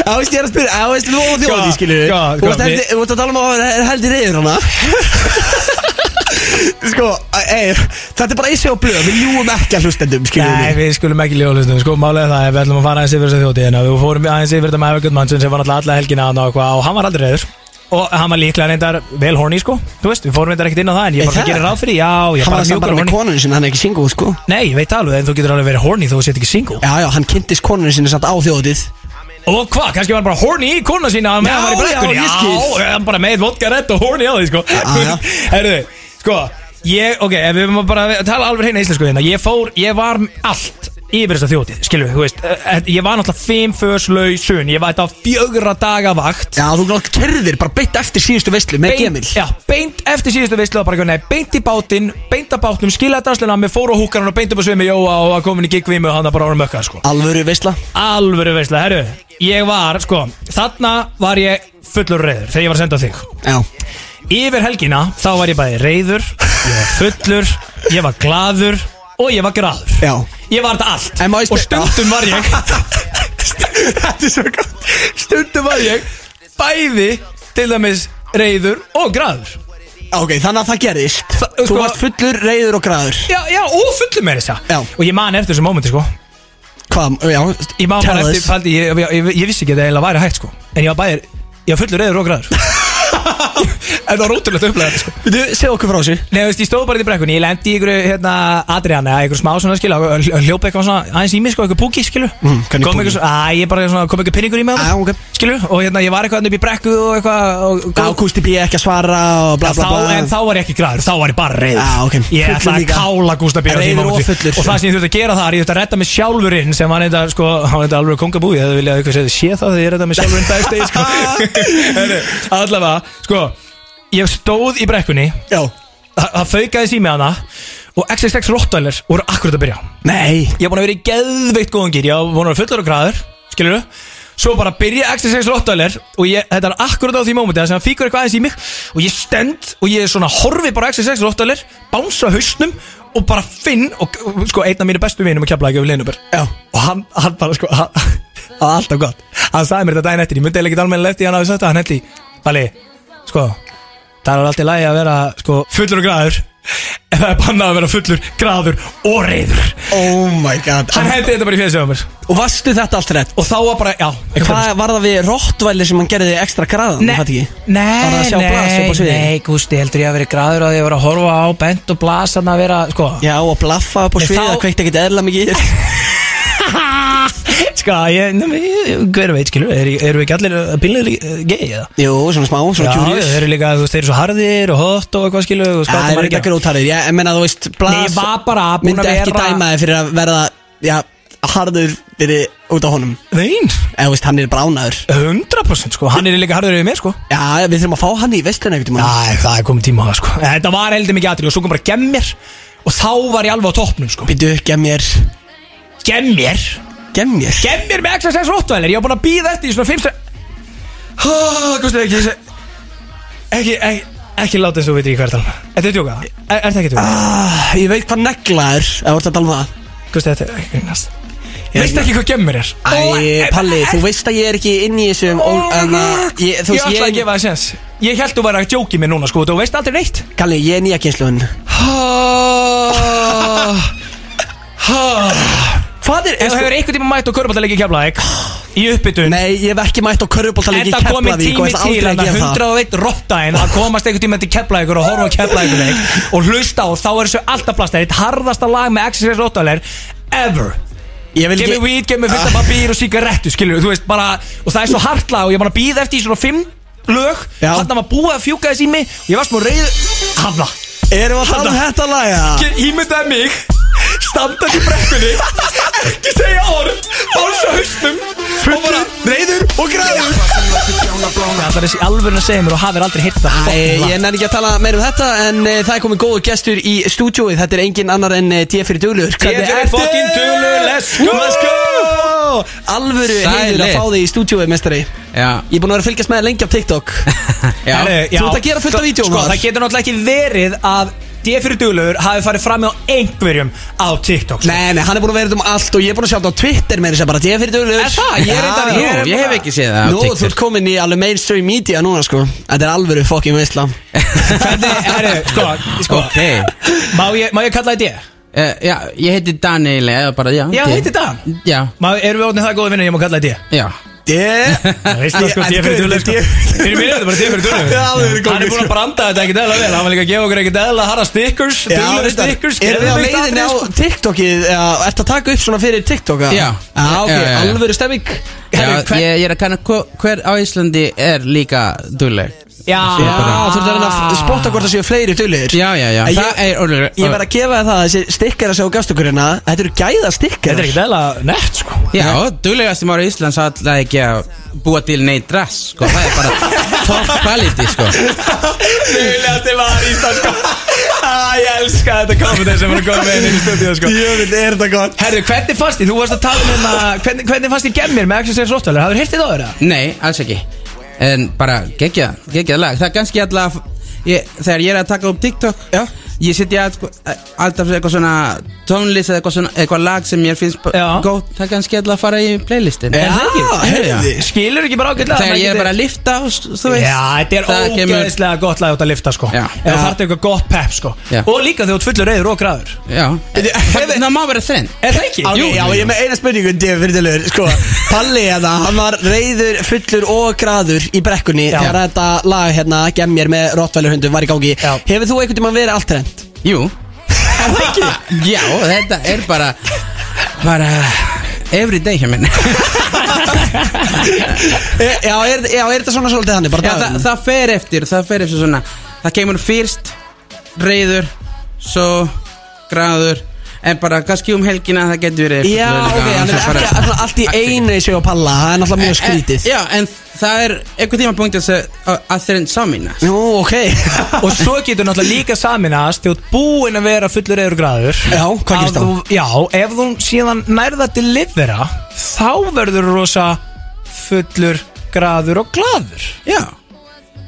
B: Já, veist, ég er að spyrja Já, veist, við vorum þjóðið,
G: Sko,
B: skilur
G: sko,
B: Þú
G: sko,
B: varst heldur- þú varst að tala um að það er heldur reyður hana Sko, ey, þetta er bara eins og blöð Við ljúum ekki að hlustendum, skilur
G: Nei, við skulum ekki ljóðlustum, sko, málega það er að við ætlum að fara aðeins yfir þess að þjótiðina Við fórum aðeins yfir þetta með Evergjöld Mannsson sem var náttúrulega alla helgina hann og eitthvað og hann var aldrei reyður og hann var líklega reyndar vel horny, sko Þú veist, við fórum reyndar ekkert inn á það en ég
B: Er
G: bara
B: það?
G: gerir ráð fyrir, já, ég
B: Hann var
G: bara
B: að
G: mjúkar
B: sambara með
G: horny
B: konunni sinna, hann er ekki single, sko
G: Nei, ég veit alveg, en þú getur alveg verið horny þó þú sett ekki single
B: Já, já, hann kynntist konunni sinna satt á þjóðið
G: Og hvað, kannski var hann bara horny í kona sína á meðan hann var í
B: Já,
G: brekkunni
B: já, ég skil.
G: Já, hann bara með vodka rett og horny á því, sko
B: já.
G: Herðu, sko, ég, ok, ef við erum bara að tala alveg hérna íslensku hérna Ég fór, ég var allt yfir þessa þjótið, skilju, þú veist eh, Ég var náttúrulega fimm föslausun, ég var þetta á fjögra daga vakt
B: Já, þú náttúrulega kerðir bara beint eftir síðustu veislu með Gemil
G: Já, beint eftir síðustu veislu og bara eitthvað, nei, beint í bátinn, beint að bátnum, skilaði dansluna með fór og húkar hann og beint upp á svimi Jóa og var komin í gigvímu og hann bara orðum ökkað, sko
B: Alvöru veisla
G: Alvöru veistla, herru Ég var, sko, þarna var ég fullur reyður þegar ég var að senda á þig
B: Já
G: Yfir helgina, þá var ég bæði reyður Ég var fullur, ég var glaður Og ég var graður
B: Já.
G: Ég var þetta allt
B: En má ég
G: Og
B: spyrja-
G: stundum var ég Þetta er svo gott Stundum var ég bæði til dæmis reyður og graður
B: Ok, þannig að það gerðist
G: Þa-
B: Þú
G: sko-
B: varst fullur, reyður og græður
G: Já, já, og fullur með þess
B: Já.
G: að Og ég man eftir þessu mómenti, sko
B: Hvað, já
G: Ég man bara
B: tell
G: eftir,
B: us.
G: faldi, ég, ég, ég, ég vissi ekki að það eiginlega væri hægt sko En ég var bæðir, ég var fullur reyður og græður En það var ótrúlegt upplega sko.
B: Þú, segðu okkur frá þessu
G: Nei, þú veist, ég stóð bara í brekkunni, ég lendi í einhverju hérna, Adriana, eða einhverju smá svona skilu Hljópa eitthvað svona, aðeins í mig sko, einhverju púki skilu
B: Mm, hvernig
G: Kom
B: púki?
G: einhver svona, að ég bara svona, kom einhver pinningur í mig
B: Ah, ok.
G: Skilu, og hérna, ég var eitthvað þarna upp í brekku og eitthvað og,
B: Já, Kusti B ekki að svara og bla
G: En
B: bla
G: þá,
B: bla
G: en þá var ég ekki græður, þá var ég bara reyður
B: Já, ok.
G: Ég
B: Fullur
G: ætlaði að
B: líka.
G: kála Gústa B á því
B: Reiður og
G: mómenti.
B: fullur.
G: Og það sem ég þurfti að gera þar, ég þurfti að redda mig sjálfur inn Sem var eitthvað, sko, hann var eitthvað alveg kongabúi Ég hefði viljað eitthvað segja sé það þegar ég redda mig sjálfur inn backstage sko. Heyrðu, Allavega, sko Ég stóð í brekkunni
B: Já
G: Það það faukaði sími hana Og XXX Rottweiler voru akkurat að byrja
B: Nei
G: Ég er búin að vera í geðveikt góðan gýr Ég er búin að vera fullur og græður Skilur Svo bara byrja XXX Rottweiler Og ég, þetta er akkurat á því mómenti Það sem hann fíkur eitthvað aðeins í mig Og ég stend Og ég svona horfi bara á XXX Rottweiler Bánsa hausnum Og bara finn Og og, sko einn af mínu bestu vinum Að kepla ekki við Linubur Já Og hann, hann bara sko hann- Það var alltaf gott Hann sagði mér þetta daginn eftir Ég myndi eiginlega ekki almennilega eftir Hann hafi sagt það Hann hendi Vali Sko Það er alltaf lægi að vera sko fullur og græður En það er bannað að vera fullur, græður og reyður
B: Oh my god
G: Hann hendi þetta bara í fjöðsögum mér
B: Og varstu þetta allt rétt
G: Og þá var bara, já
B: Hvað var það við Rottvæli sem hann gerði ekstra græðan? Nei
G: Nei,
B: Var það að sjá blas upp á
G: nei,
B: sviði?
G: nei, Gústi, heldur ég að vera græður að ég vera að horfa á bent og blas að vera, sko
B: Já, og blaffa upp á
G: Nei,
B: sviða
G: þá-
B: Það kveikt ekkert eðla mikið í þér.
G: Ska, sko, ég, nemi, hver veit, skilur, er, erum við ekki allir eh, bílnir geið, eða?
B: Jú, svona smá,
G: Já,
B: svona curious
G: þeir eru líka, þú veist, þeir eru svo harðir og hot og eitthvað, skilur, og
B: Já,
G: skáta
B: það er
G: margir
B: ekki grótarðir Ég ég meina, þú veist,
G: Nei, ég
B: Blas
G: var bara búin
B: myndi
G: að
B: ekki
G: vera-
B: dæma þið fyrir að verða já, harður fyrir út á honum
G: Nein,
B: eða þú veist, hann er bránaður
G: 100% sko, hann er líka harður yfir mér, sko
B: Já, við þurfum að fá hann í vestluna einhvern tímann
G: Æ, það er komið tíma á það, sko En Þetta var heldur mikið atrið og svo kom bara gemmir Og þá var ég alveg á toppnum, sko
B: Býtu, gemmér
G: Gemmir?
B: Gemmér?
G: Gemmir með XSS Rottweiler, ég var búin að býða eftir í svona 5 stund Há, Gústi, ekki ég seg- Ekki, ekki Ekki láta eins og þú veitir í hvað er talað Þetta er djóka, er, er það ekki djóka?
B: ah, Ég veit hvað negla er Það voru að tala um það
G: Gústi, þetta er ekki næst Veist ekki hvað gemmur er? e-
B: Æ, Palli, þú veist að ég er ekki inn í þessum ó, en að ég,
G: Ég
B: Þú veist,
G: ætlaði að
B: ég,
G: gefa það sens Ég held þú væri að djóki mér núna sko Þú veist aldrei neitt
B: Kalli, ég er nýja kynsluðun Hvað er,
G: Ef þú hefur einhvern tíma mætt á körbáttalegi keflaðeg Í uppbytun
B: Nei, ég hef ekki mætt á körfuboltaleik í
G: Enda komið
B: Keflavík og
G: tími
B: ætla
G: til
B: aldrei að
G: að
B: gera það
G: 101 rottaðin að komast einhvern tíma til keflaðegur og horfa á keflaðegur og hlusta og þá er þessu alltaf plast eitt harðasta lag með XXS rottaðilegur ever
B: Ég vil
G: Gef mér
B: ekki
G: weed, gef mér fullt af papír og sigarettu skilur, þú veist, bara, og það er svo hartla og ég er bara að býða eftir í svona fimm lög
B: Já.
G: hann var búið að fjúka þess í mig og ég var smá reyð hafna
B: Erum við að tala um þetta laga?
G: Ég ímyndaði mig standandi í brekkunni ekki segja orð báls á haustum og bara reyður og græður Það er þessi alvörn að segja mér og hafið aldrei hitt það
B: Æ, ég nenni ekki að tala meir um þetta En uh, það er komið góðu gestur í stúdjóið Þetta er engin annar en uh, D.F. fyrir duglur
G: Ég er fokkin dulu, let's go
B: Let's go Alvöru
E: Sælir.
B: heiður að fá þig í stúdjóið, mestari
E: Já,
B: Ég er búin að vera að fylgjast með þér lengi á TikTok
E: já
G: Herri,
B: Þú ert að gera fullt af
G: Þa-
B: vídeóum
G: Sko,
B: þar.
G: það getur náttúrulega ekki verið að D fyrir duglur hafi farið fram á einhverjum á TikTok sko.
B: Nei, nei, hann er búin að vera út um allt og ég er búin að sjá þetta á Twitter með þess að bara D.F. fyrir duglur
G: Er það? Ég er reyndar-
E: Jú, ég hef ekki séð það á
B: Nú, þú ert
E: TikTok
B: komin í alveg mainstream media núna, sko Þetta er alvöru fokkin veisla
G: Hvernig, herri, sko, sko
E: Ok
G: má, ég, má ég kalla það D?
E: Eh, Já, ég heiti Daniel eða bara, já
G: Já,
E: D.
G: heitir Dan.
E: Já,
G: Má, erum við orðin það góði vinnur, ég má kalla það D?
E: já
G: Það veist það sko, D fyrir duglur sko. Fyrir mér er þetta bara D fyrir duglur
B: Já, það er góð,
G: Hann er búin
B: sko.
G: að branda þetta ekkert eðla vel Hann var líka að gefa okkur ekkert eðla harra stickers Duglur stickers
B: Erum við á
G: geðveikt
B: leiðinni
G: atriði,
B: á
G: sko.
B: TikTokið eða Ertu að taka upp svona fyrir TikToka?
E: Já.
B: Já, ok,
E: Já, já, já.
B: alvöru stemming
E: Já,
G: Herri, hver-
E: ég, ég er að kanna hvo- hver á Íslandi er líka dugleg
G: Já,
B: Já, þú ert að reyna að spotta hvort það séu fleiri dulir
E: Já, já, já,
B: Ég-
E: það er orðlega
B: Ég verð að gefa þér það að þessi stikkara sem þú gafst okkur hérna Þetta eru gæða
G: Þetta er
B: stikkara
G: ekkert eðla nett sko
E: Já, duglegast sem ára í Íslands alltaf ekki að búa til neitt rass sko, það er bara top quality sko
G: Duglast til að ísta sko Æ, ég elska þetta komið sem er að koma með henni í stúdíu sko
B: Jöfnvill, er þetta gott
G: Herru, hvernig fannst þið? Þú varst að tala um hérna Hvernig, hvernig fannst þið gemmir með Axel Sears Rottweiler? Hafður hirtið á þeirra?
E: Nei, alls ekki En bara geggja, geggja lag Það er kannski alltaf ég, Þegar ég er að taka upp TikTok
G: Já.
E: Ég setja all- alltaf eitthvað svona tónlist eða eitthvað, svona, eitthvað lag sem ég finnst
G: Já.
E: gótt Það er kannski alltaf að fara í playlistin
B: Já, heyrðu
G: Skilur ekki bara ágætlega
E: Þegar ég er bara að
G: líka
E: lifta og s- þú veist
G: Já, þetta er
E: það kemur-
G: ógeðslega gott lag út að lifta sko
E: Já.
G: Eða þarf þetta eitthvað gott pep sko
E: Já.
G: Og líka þegar þú ert fullur reyður og græður
E: Já, það það má vera þrenn
G: Er það ekki?
B: Ok, já, ég er með eina spurningu Djöfn, fyrirtölugur Sko, Palli hérna, hann var reyður, fullur og graður í brekkunni
G: Já.
B: Þegar þetta lag hérna, gemmér með rottvælarhundum var í gangi
G: Já.
B: Hefur þú einhvern tímann verið allt reynd?
E: Jú Já, þetta er bara Bara Every day hjá mér
B: Eh, Já, er, já, er þetta svona svolítið þannig? Bara
E: Já, það,
B: dagurinn?
E: það fer eftir, það fer eftir svona Það kemur fyrst Reyður, svo Graður, en bara kannski um helgina Það getur verið
B: Já,
E: fullur,
B: ok, hann
E: svo
B: er
E: bara-
B: ekki alltaf allt í einu í sig og palla Það er náttúrulega mjög skrítið
E: En- Eh, Já, en það er einhver tíma punkt að þeirinn samina
B: Nú, ok
G: Og svo getur náttúrulega líka saminast Þegar þú ert búinn að vera fullur reyður og græður
B: Já, hvað gerist
G: Að
B: þá?
G: þú- Já, ef þú síðan nærða til livera Þá verður þú rosa fullur græður og glæður
E: Já,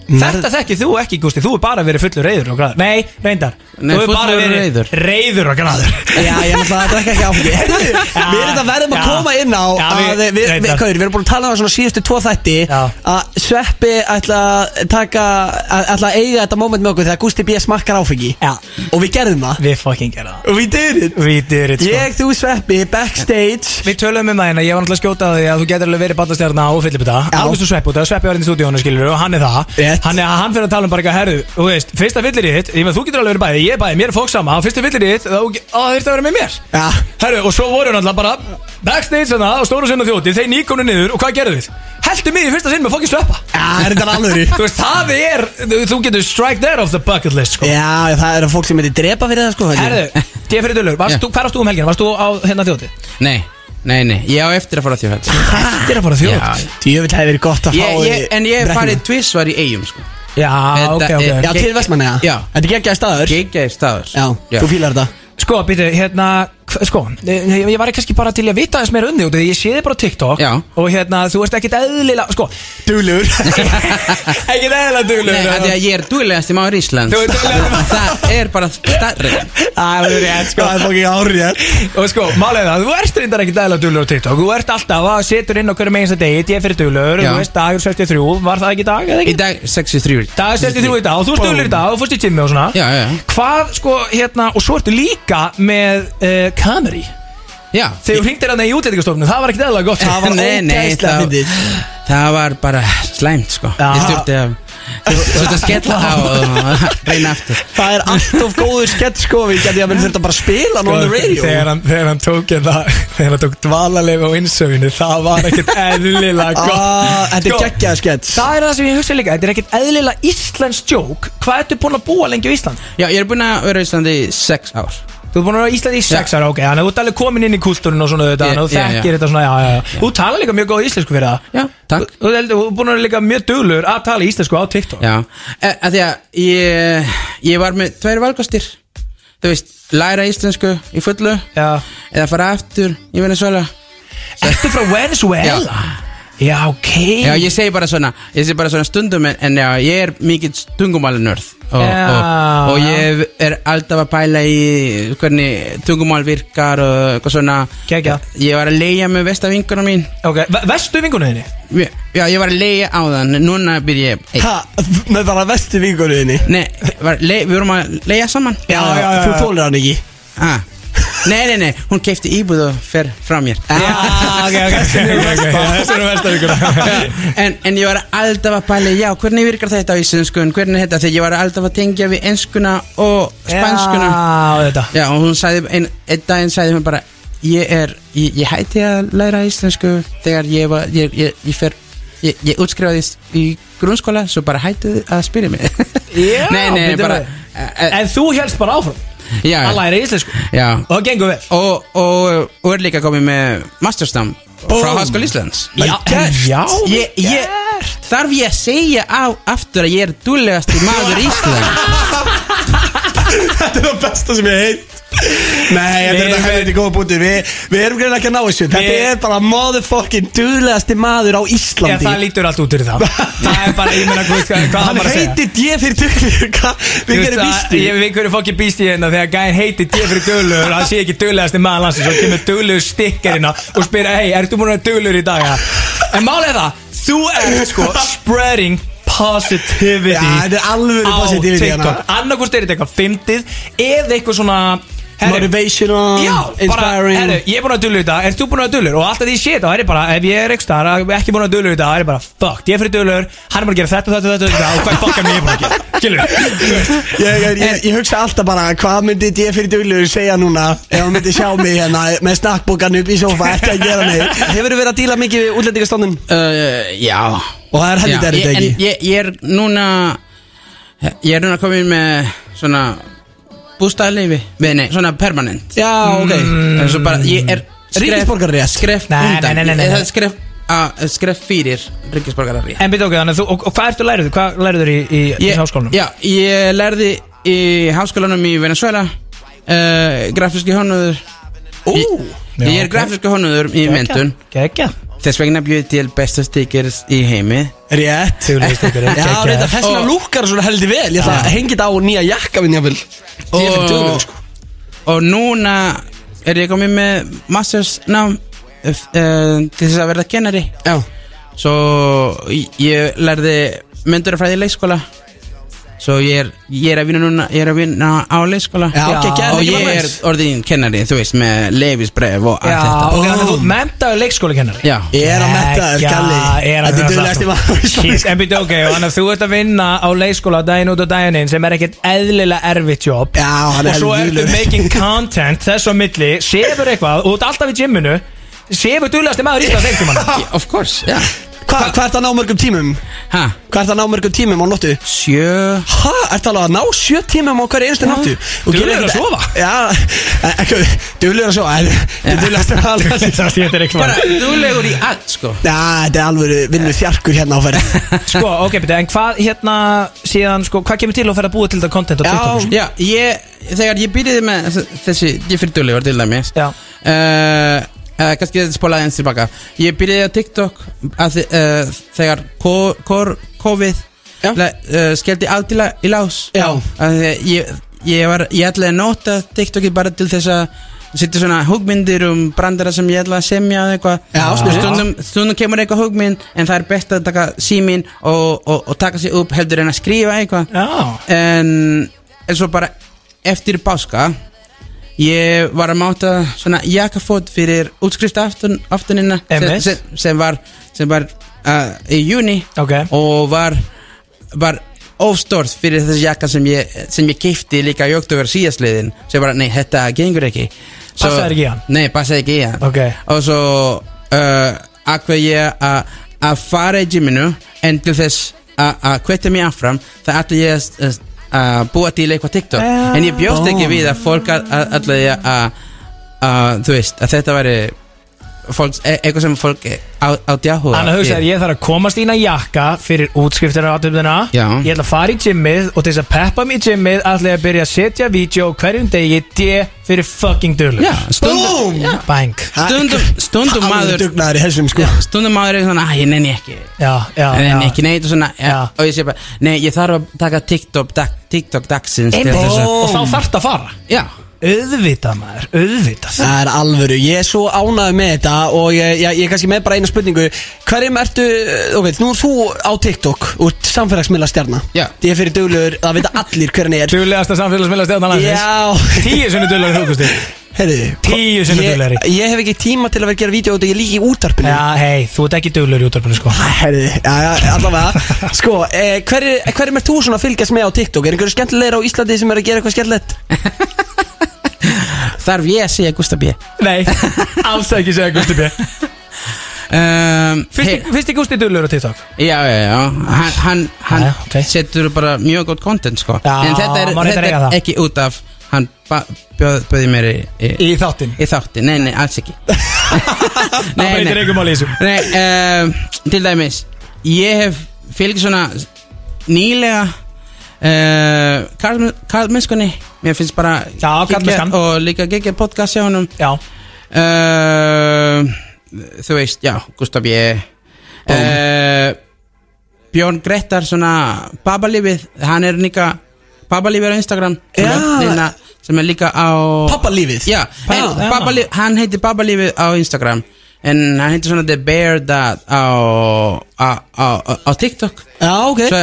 G: Þetta þekkið þú ekki Gústi, þú er bara verið fullur reyður og græður Nei, reyndar,
E: Nei,
G: þú er bara
E: fullur
G: verið
E: reiður.
G: reiður og græður
B: Já, ég er náttúrulega að drekka ekki áfengi Heyrðu, Við erum þetta verðum að
G: Já.
B: koma inn á
G: Já,
B: að
G: við-
B: við, við, við,
G: reyndar.
B: Kaur, við erum búin að tala um það svona síðustu tvo þætti
G: Já.
B: að Sveppi ætla að taka að- ætla að eiga þetta moment með okkur þegar Gusti B. smakkar áfengi
G: Já.
B: og við gerðum það
G: Við fucking gera það
B: og við dyrir
G: Við dyrir sko
B: Ég, þú, Sveppi, backstage
G: Við töluðum um það hérna, ég var náttúrulega að skjóta á því að þú getur alveg verið ballastjarna og fyllibita
B: Já.
G: Alveg svo sveppu, það er sveppi orðin í stúdíónu skilur og hann er það
B: Rétt.
G: Hann er hann fyrir að tala um bara eitthvað herðu, þú veist, fyrsta fyllir í þitt, ég með þú getur alveg verið bæði, ég er bæði, mér er fólk sama Fyrsta fyllir í þitt, þá það þurfti að vera með mér
B: Já.
G: Herru, og svo voru náttúrulega bara backstage hérna á stóru sinna þjóti, þeir nýkonu niður og hvað gerðu þið? Heltu mig í fyrsta sinn með fokkin sveppa
B: Já, er þetta alveg
G: Þú veist, það er, þú þú getur strike there off the bucket list, sko
B: Já, það eru fólk sem myndi drepa fyrir það sko held ég.
G: Herðu, ég fyrir dölur, varst,
E: Já.
G: yeah. hvað varst þú um helgina? Varst þú á hérna þjóti?
E: nei, nei, nei Ég á eftir að fara þjóðhætt
G: Þetta er að fara
E: Já,
G: þjóti
B: Djöfull hefði verið gott að fá
E: ég, ég, En ég hef
B: brekkuna.
E: farið tvissvar í eigum sko
G: Já,
E: Þetta
G: ok, ok
E: er-
B: Já, til Vestmanna,
E: Já.
B: Þetta er geggjaði staður
E: Gekkjaði staður
B: Já, þú fílar þetta
G: Sko, býtu, hérna, sko, ég, ég var kannski bara til í að vita þess meira um þig út af því ég sé þig bara á TikTok
E: Já.
G: og hérna, þú ert ekkit eðlilega sko, duglegur ekkit eðlilega sko. duglegur
E: Nei, af því að ég er duðlegasti maður Íslands
G: Þú ert duglegasti
E: Það er bara starrið
G: Það er rétt sko
B: Það er fokkin árið
G: Og sko, málega það, þú ert reyndar ekkit eðlilega duglegur á TikTok Þú ert alltaf að setur inn á hverju meginsta degi Ég er fyrir duglegur,
E: Já.
G: þú veist dagur 63 Var það ekki í dag eða
E: Í
G: ekki?
E: dag 63
G: Dag 63 í dag, og þú ert duglegur í dag Þú fórst í tími og svona
E: Já, já, já.
G: Hvað, sko, hérna, og svo ertu líka með uh, Camry
E: Já
G: Þegar þú hringdir hann í útlendingastofnun, það var ekkit eðlilega gott Það var
E: Nei, nei,
G: ógeðslega
E: það-
G: fyndið.
E: Það var bara slæmt sko
G: Já.
E: Ég þurfti að Þurfti að skella á og reyna aftur
B: Það er allt of góður skett sko Við gæti að við þurfum bara að spila hann on the radio
G: Sko, þegar hann, þegar hann tók hérna, þegar hann tók dvalarleyfi á innsöfinu það var ekkert eðlilega gott
B: Ah, Þetta er
G: Sko,
B: geggjað skett
G: Það er það sem ég hugsa líka, þetta er ekkert eðlilega Íslands joke Hvað ertu búin að búa lengi á Ísland?
E: Já, ég er búinn að vera í Íslandi í 6 ár
G: Þú ert búin að vera á Íslandi í sex ára, ok Þannig að þú ert alveg komin inn í kultúrin og svona þetta
E: Ég-
G: Þannig að þú
E: já, já.
G: þekkir þetta svona, já, já, já Þú talar líka mjög góð íslensku fyrir það
E: Já, takk
G: Þú- Þú ert þú ert búin að vera líka mjög duglur að tala íslensku á TikTok
E: Já, e, að því að ég, ég var með tveir valkostir Þú veist, læra íslensku í fullu
G: Já.
E: Eða fara aftur í Venezuela
G: Ertu frá Venezuela? Já, ok
E: Já, ég segi bara svona, ég segi bara svona stundum En, en já, ég er mikið tungumálinörð og,
G: Já,
E: og, og
G: já.
E: ég er alltaf að pæla í hvernig tungumál virkar og eitthvað svona
G: Geggjað.
E: Ég var að leigja með vesta vingunum mín
G: Ok, ve- vestu vingunni þinni?
E: Já, ég var að leigja á þann Núna byrja ég einn.
B: Ha, með bara vestu vingurinni
E: Nei, var, le, við vorum að leigja saman
B: Já, já, já Þú þólir hann ekki
E: Ah. Nei, nei, nei, hún keipti íbúð og fer frá mér
G: Ah, ok, ok, ok, ok, ok, þessu eru versta vikuna
E: en, en ég var alltaf að pæla í, Já, hvernig virkar þetta á íslenskun Hvernig er þetta, þegar ég var alltaf að tengja við enskuna Og spanskuna
G: Já, þetta
E: Já, og hún sagði, ein, einn daginn sagði hún bara Ég er, ég, ég hætti að læra íslensku Þegar ég var, ég, ég, ég fer Ég, ég útskrifaðist í grunnskóla Svo bara hætti að spyrja mig
G: Já,
E: Nei, nei,
G: bíddu
E: bara
G: við.
E: eh, eh,
G: En þú helst bara áfram
E: Já,
G: Að læra íslensku
E: já
G: Og það gengur vel
E: og, og, og er líka komið með masterstam frá Háskóla Íslands
G: Já, já
E: ég, ég, Þarf ég að segja á aftur að ég er dúlegast í maður Íslands
B: Þetta er það besta sem ég heit Nei, þetta er
G: Við-
B: þetta hægt í góða búti Við við erum greina ekki að ná þessu Þetta
G: Við-
B: er bara motherfucking duðlegasti maður á
G: Já,
B: Íslandi
G: það lítur allt út fyrir það Það er bara, ég meina, hvað, hvað- hvað
B: Hann
G: maður að segja?
B: heitir D fyrir duðlegur Við
G: Ég veist
B: gerum
G: að-
B: býstu
G: Ég veit hverju fokki býst ég hérna Þegar gæðin heitir D fyrir döglegur Það sé ekki döglegasti maður landsins Svo kemur döglegur stikkarina Og spyr, hei, ertu búin að vera döglegur í dag? Ja? En málið er það Þú ert sko spreading positivity
B: Já, þetta er alvöru positivity
G: Á
B: hérna.
G: TikTok Annarkvist er þetta eitthvað fyndið Eða eitthvað svona herri,
B: Motivational,
G: Já,
B: inspiring.
G: bara, herru, ég er búin að dölur í dag, ert þú búin að dölur? Og alltaf því ég sé þetta, það er bara, ef ég er ekki star, ekki búin að dölur í dag, það er bara, fuck, ég er fyrir dölur, hann er búin að gera þetta, þetta, þetta, þetta, og hvað fuckan ég er búin að gera, skilur við?
B: Ég, ég, ég, ég hugsa alltaf bara hvað myndi ég fyrir duglegur segja núna ef hann myndi sjá mig hérna með snakkbókan upp í sofa ekki að gera neitt Hefur þú verið að díla mikið við útlendingastofnun?
E: uh, Já
B: Og það er heldur
E: Já,
B: þetta
E: ég-
B: ekki
E: En ég, ég er núna Ég er núna komin með svona bústæðleifi Nei, svona permanent Mm.
B: Já, ok
E: En svo bara, ég er
B: Ríkisborgararétt.
E: Skref
G: Nei,
E: undan
G: nei, nei, nei, nei.
E: Það er Skref, að, skref fyrir ríkisborgarar
G: En byrja okkur, þannig að þú, og, og hvað ertu lærið? Hvað lærið þú í, í, í háskólanum?
E: Já, ég lærði í háskólanum í Venezuela uh, Grafíski honnuður Ú, ég,
G: Já,
E: ég er
G: ok.
E: grafíski honnuður í mentun
G: Gekja
E: Þess vegna bjöði til bestu stickers í heimi
B: Rétt
G: Duglegir strákur,
B: Já,
G: geggjað.
B: reynda þessna
E: Og-
B: lúkar svona heldur vel Ég ætla að hengja þetta á nýja jakka minn jáfnvel Ég er fyrir duglegur sko
E: Og núna er ég komið með masters nám uh, til þess að verða kennari
B: Já
E: Svo ég lærði myndurafræði í leikskóla Svo ég er, ég er að vinna núna, ég er að vinna á leikskóla
B: Já, ok, gerð
E: Og
B: ekki
E: ég
B: bara
E: er
B: næst
E: orðin kennari, þú veist, með leifisbref og allt
G: Já,
E: þetta
G: ok, þannig að þú
B: Búm.
G: mentaðu leikskólakennari
E: Já
B: Ég er að metta þér,
G: Geggjað,
B: Kalli
G: er að
B: Þetta er duglegast í maður á Íslandi,
G: Jeez, En byrja ok, og þannig að þú ert að vinna á leikskóla daginn út og daginn inn sem er ekkert eðlilega erfitt jobb
B: Já, hann er
G: Og svo
B: helvíti
G: ertu
B: duglegur.
G: making content þess á milli Sefur eitthvað, og þú ert alltaf í gymminu Sefur duðlegasti maður í Íslands einhverjum
E: Of course, já
B: Hva, hvað ert að ná mörgum tímum?
E: Hæ?
B: Hvað ert að ná mörgum tímum á nóttu?
E: Sjö
B: Hæ? Ert alveg að ná sjö tímum á hverju einstu nóttu? Og
G: Duglegur
B: gerir
G: að
B: ekkert-
G: sofa.
B: Já, ekki, duglegur að sofa en Þetta er duglegast að hala
G: Það er ekki
E: Bara
G: bara
E: duglegur í allt sko
B: Já, þetta er alveg vinnu þjarkur hérna á ferð
G: Sko, ok, beti, en hvað hérna síðan, sko, hvað kemur til að fara að búa til þetta content á
B: Já.
G: TikTok? sko?
E: Já, ég, þegar ég byrjaði með þess- þessi, ég fyrir duglegur til dæmis
G: Já.
E: uh, uh, Kannski ég spóla eins tilbaka Ég byrjaði á TikTok að, þi- uh, Þegar ko- kor- COVID
B: Já.
E: le, uh, Skeldi allt í, la, í lás
B: Já.
E: Að því að ég, ég, var, ég ætlaði að nota TikTokið bara til þess að Sittu svona hugmyndir um brandara sem ég ætla að semja eða eitthvað
B: Já,
E: Og
B: sniðugt.
E: stundum, stundum kemur eitthvað hugmynd En það er best að taka símin og, og, og taka sig upp heldur en að skrifa eitthvað
G: Já.
E: en eins og bara eftir páska ég var að máta svona jakkafót fyrir útskrift aftun, aftunina sem,
G: Einmitt.
E: sem, sem var, sem var uh, í júni
G: Ok.
E: og var, var ofstort fyrir þessi jakka sem ég, sem ég keipti líka í oktober síðastliðin sem bara, nei, þetta gengur ekki Svo-
G: Passaði ekki í hann?
E: Nei, passaði ekki í hann
G: Ok.
E: Og svo uh, Akvað ég að að fara í gyminu En til þess að að hvetja mig áfram Það ætla ég að- að- að búa til eitthvað TikTok
G: Já.
E: En ég
G: Ah.
E: bjóst ekki við að fólk að- að- ætla ég að að, Þú veist, að þetta væri fólks, e- eitthvað sem fólk á, átti áhuga
G: Þannig að
E: fyrir.
G: hugsa þér, ég þarf að komast ína jakka fyrir útskriftir á aðtöfnina
E: Já.
G: Ég ætla að fara í gymmið og til þess að peppa mig í gymmið ætla ég að byrja að setja vídeo hverjum degi D fyrir fucking dölur
E: Já, stundum,
B: Búm!
G: Bang
E: stundum, stundum
B: Alveg
E: maður
B: dugnaður í þessum sko
E: Stundum maður er svona, að ég nenni ekki
G: Já, já,
E: Ég nenni
G: já.
E: ekki neitt og svona
G: Já.
E: Og ég sé bara, nei, ég þarf að taka TikTok, dag, TikTok dagsins til
G: Einmitt.
E: þess að-
G: Og þá þarft að fara
E: Já,
G: Auðvitað maður, auðvitað
B: Það er alvöru, ég er svo ánægð með þetta og ég, ég, ég er kannski með bara eina spurningu Hverjum ertu, þú veit, nú er þú á TikTok úr samfélagsmiðla stjarna
E: Já.
B: Ég er fyrir duglegur, það vita allir hver hann er
G: Duglegasta samfélagsmiðla stjórn
B: Já.
G: Tíu sinni duglegur hugustir
B: Heyrðu,
G: Tíu sinnum
B: ég-
G: duglegri.
B: Ég hef ekki tíma til að vera að gera vídeo og ég er líka í útarpinu
G: Já, hei, þú ert ekki duglegur í útvarpinu sko
B: Herði, já, já, allavega Sko, eh, hverjir hver er þú svona að fylgjast með á TikTok? Er einhverju skemmtilegir á Íslandi sem er að gera eitthvað skemmtilegt?
E: Þarf ég að segja Gustaf B
G: Nei, alls ekki segja Gusti B
E: um,
G: Fyrst fyrsti Gusti duglegur á TikTok
E: Já, já, já Hann, hann, hann
G: Já, ok.
E: setur bara mjög gott content sko.
G: Já,
E: En þetta er,
G: má reyndar
E: þetta
G: eiga
E: er
G: það.
E: ekki út af Hann ba- bjóð, bjóði mér í, í,
G: Í þáttinn
E: í þátti Nei, nei, alls ekki
G: Það breytir engum máli í þessu.
E: Nei, um, til dæmis Ég hef fylgið svona nýlega uh, Karlmennskunni Mér finnst bara
G: Já,
E: geggjað
G: karlmennskan.
E: Og líka geggja podcast hjá honum
G: Já,
E: Eh, Þú veist, já, Gustaf ég uh, Björn Grettar svona Babalífið, hann er líka Babalífið á Instagram sem er-
B: Já.
E: neina, sem er líka á
B: Papalífið?
E: Já, en
B: Já.
E: Babalíf, hann heitir Babalífið á Instagram en hann heitir svona The Bear Dad á, á, á, á, á TikTok
B: Já, ok
E: Svo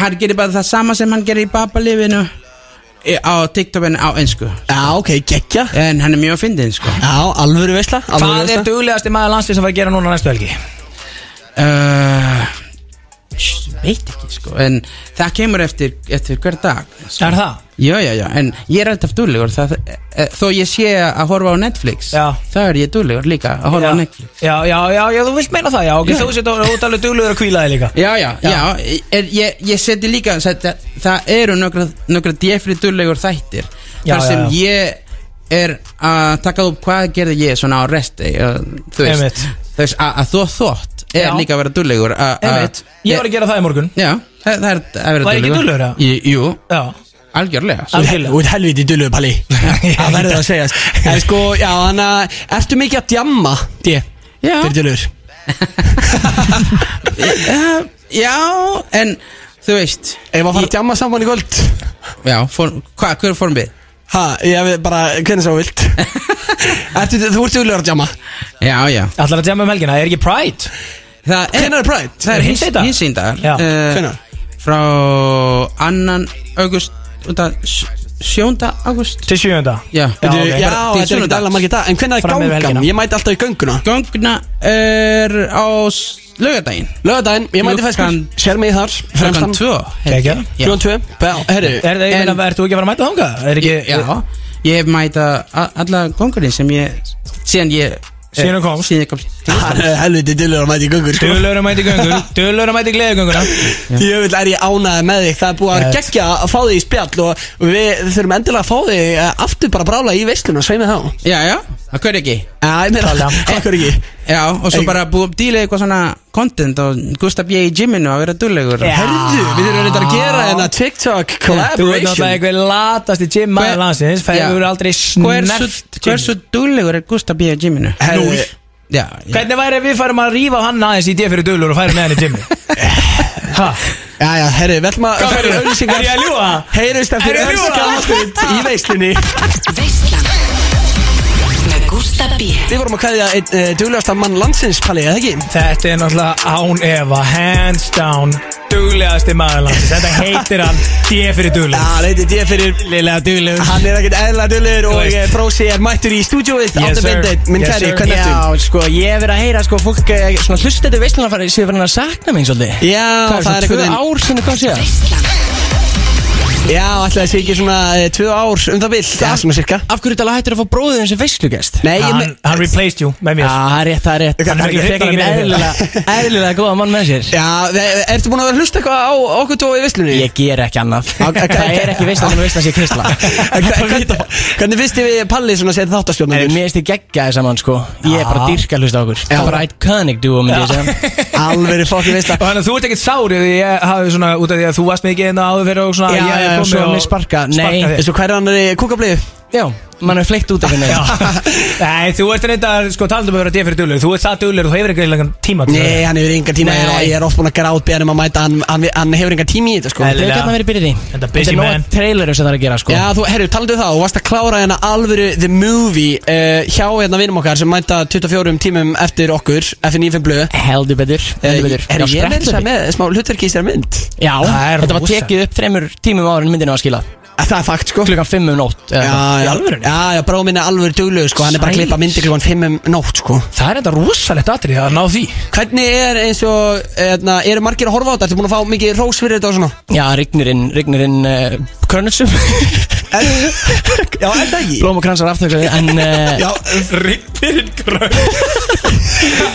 E: hann gerir bara það sama sem hann gerir í Babalífinu eh, á TikTok en á einsku
B: Já, ok, geggja
E: en hann er mjög fyndin sko
B: Já, alvöru veisla alvöru
G: Hvað
B: veisla.
G: er duglegasti maður landsins að fara að gera núna næstu helgi?
E: Uh, veit ekki sko en það kemur eftir, eftir hver dag sko.
G: Er það?
E: já, já, já, en ég er alltaf dúlegur það, e, þó ég sé að horfa á Netflix
G: Já.
E: þá er ég dúlegur líka að horfa
G: já.
E: á Netflix
G: já, já, já, já, þú vilt meina það, já, ok, þú sétt út alveg duglegur að kvíla þig líka
E: já, já, já, er, ég, ég seti líka þetta, það eru nokkra, nokkra djefri dúlegur þættir
G: Já,
E: þar
G: já,
E: sem
G: já.
E: ég er að taka upp hvað gerði ég svona á resti uh, þú
G: Einmitt.
E: veist, þú veist að, að þú þótt er
G: Já.
E: líka að vera dúlegur
G: Einmitt, ég var að gera það í morgun
E: Já, það, það er að vera
G: Var ég ekki duglegur, eða?
E: Í- Jú,
G: Já,
E: algjörlega svo.
B: Þú
G: algjörlega
B: ert helviti dullu Palli Það verður að segjast En sko, já, hann að Ertu mikið að djamma, D?
E: Já.
B: Fyrir dullur
E: Já, Já, en þú veist
B: Ef að fara að djamma saman í kvöld
E: Já, form, hvað, hver er formið?
B: Ha, ég veit bara, hvernig svo þú vilt Ertu, þú ert dullur að djamma
E: Já, já
G: Allar að jamma um helgina, er ekki Pride?
E: Það
B: Hvenær er Pride?
E: Það
G: Er
E: er
G: hinsegin dagur?
E: hinsýndar
G: Já.
B: Hvenær?
E: Eh, Frá annan august Sjónda august
G: Til sjöunda
E: Já.
G: já,
B: Bíddu,
G: ok.
B: Já,
E: bara til
B: þetta er ekki
E: sunnudags.
B: dæla margir dag En hvernig er
G: Fram yfir
B: gangan?
G: helgina.
B: Ég mæti alltaf í gönguna
E: Göngna er á lögadaginn
B: Lögadaginn, ég mæti feskur
E: Klukkan-
B: Sér mig þar,
E: Klukkan
B: fremstan
E: tvö held ég.
G: Geggjað.
E: Já.
B: Klukkan tvö Bá, herru
G: Er það, ég
E: En-
G: meina, ert þú ekki að fara að mæta þangað? Er ekki,
E: Ég- Já, ég hef mæta a- alla kongurinn sem ég síðan ég
G: Síðan hann komst
E: Síðan ég komst
B: Hann er helviti dölur að mæti göngur sko.
G: Dölur að mæti göngur Dölur að mæti gleðugönguna
B: Jöfull er ég ánaði með þig Það er búið að
G: Yes.
B: gegja að fá þig í spjall Og við þurfum endilega að fá þig eh, aftur bara brála í veisluna Sveið mig þá
E: Já, já, það kaur ekki
B: Já, ég meina,
G: um-
B: okkur ekki
E: Já, og svo
B: Ey.
E: bara búið upp díla eitthvað svona content og Gustaf ég í gyminu að vera dullegur
G: Já.
B: Herðu, við þurfum reyndar að gera hérna TikTok
G: Þú veit náttúrulega
B: collaboration
G: eitthvað latast í gym
E: Hver-
G: maður landsins
E: Já.
G: Þú eru aldrei
E: Hversu,
G: snert
E: hversu dullegur er Gustaf ég í gyminu?
B: Herðu,
E: Já, já.
G: Hvernig væri ef við farum að rífa hann aðeins í D fyrir dölur og færum með hann í gymni Ha?
B: já, já, herðu, við ætlum að
G: Hvað
B: fara í
G: verður? Er
B: auðlýsingar
G: ég að ljúga?
B: Heyrðust
G: Er
B: eftir
G: ég að ljúga?
B: auðlýsingar í veislunni
F: Veislan Með Gústa B
B: Við vorum að kveðja einn uh, duglegasta mann landsins, Palli, eða ekki?
G: Þetta er náttúrulega án efa Hands down Duglegasti maður landsins Þetta heitir hann D fyrir
B: Já,
G: dölur
B: leitið ég fyrir
G: Lillega duglegur
B: Hann er ekkert eðla dölur
G: Þú
B: og
G: veist.
B: eh, Frósi er mættur í stúdíóið
G: Yes,
B: Áttu
G: sir.
B: myndið, minn
G: Yes,
B: kæri,
G: sir.
B: hvernig ertu?
H: Já, sko, ég hef verið að heyra, sko, fólk, eh, svona hlustendur veistlunarfæri séu verið að sakna mín svolítið.
B: Já,
H: Hvað er um-
B: það er
H: svona tvö
B: einhvern veginn
H: ár sinni kom síðan?
F: Veislan
B: Já, ætli það sé ekki svona eh, tvö ár um það vill Já, svona cirka
H: Af hverju þetta hættir að fá bróðið eins og veislugest?
B: Nei, ég
G: Hann
B: me-
G: hann replaced you með
H: Já,
G: mér
H: það er rétt, það er rétt.
G: Hann er ekki
H: Ég fekk
G: hrifnar af
H: ekki
G: mér.
H: eðlilega, eðlilega góða mann með sér.
B: Já, e- ertu búin að vera að hlusta eitthvað á okkur tvo í visslunni?
H: Ég ger ekki annað.
B: Ok, ok.
H: Það er ekki veislan en veislan sé kristla.
B: Hvernig finnst þið við Palli svona setið
H: Mér
B: þáttastjórnum?
H: finnst ég geggjaði saman, sko. Ég er bara
G: Já.
H: dýrka hlusta á okkur. Það
B: Já.
H: er bara iconic duo, myndi ég segja.
B: Alveg fokkin veist
G: Og
B: það
G: þannig að þú ert ekkert sár Því ég hafi svona Út af því að þú varst mikið inn á áður fyrir og svona
H: Já,
G: Ah, ég
H: já,
G: kom
H: svo
G: og-
H: mér sparka. Nei,
G: þig.
B: Þessu hver er hann eh, er í kúkabliðu?
H: Já, mann er fleitt út af henni.
G: Já. Nei, þú ert reyndar, sko, talandum að vera D fyrir dölur Þú ert það dölur, þú hefur ekki langan tíma til
B: Nei, hann hefur engan tíma Ég er- Ég er oft búin að grátt beðan um að mæta Hann, hann, hann hefur engan tími í þetta sko
G: Nei,
H: Þau
G: Eðlilega.
H: gætna verið byrjið í.
G: Enda busy
H: er
G: man.
H: nóga trailerum sem það er að gera, sko.
B: Já, þú, herru, talandu um það Þú varst að klára hérna alvöru The Movie uh, Hjá hérna vinum okkar sem mæta 24 tímum eftir okkur F95 blöð Eh,
H: Heldur betur, heldur
B: Herru,
H: betur
B: ég er
H: sprettur
B: verið
H: betur.
B: með smá hlutverki í sér mynd
H: Já,
G: Það er
H: þetta var
G: rosa.
H: tekið upp þremur tímum ára en myndinu var skilað
B: Það er fakt sko
H: Klukkan 5 um nótt eða eitthvað.
B: Já,
G: Í
B: já,
G: alvörunni?
B: já, já, bróð minn er alveg duglegu sko, hann er bara að
H: Sæl.
B: klippa myndir klukkan 5 um nótt sko
G: Það er enda rosalegt atrið að ná því
B: Hvernig er eins og, eðna, eru margir að horfa á þetta, ertu búin að fá mikið rós fyrir þetta og svona?
H: Já, rignir inn, rignir inn uh, Körnusum
B: Já, er það ekki?
H: Blóm og kransar aftöksaði En uh,
G: Rippirinn gröð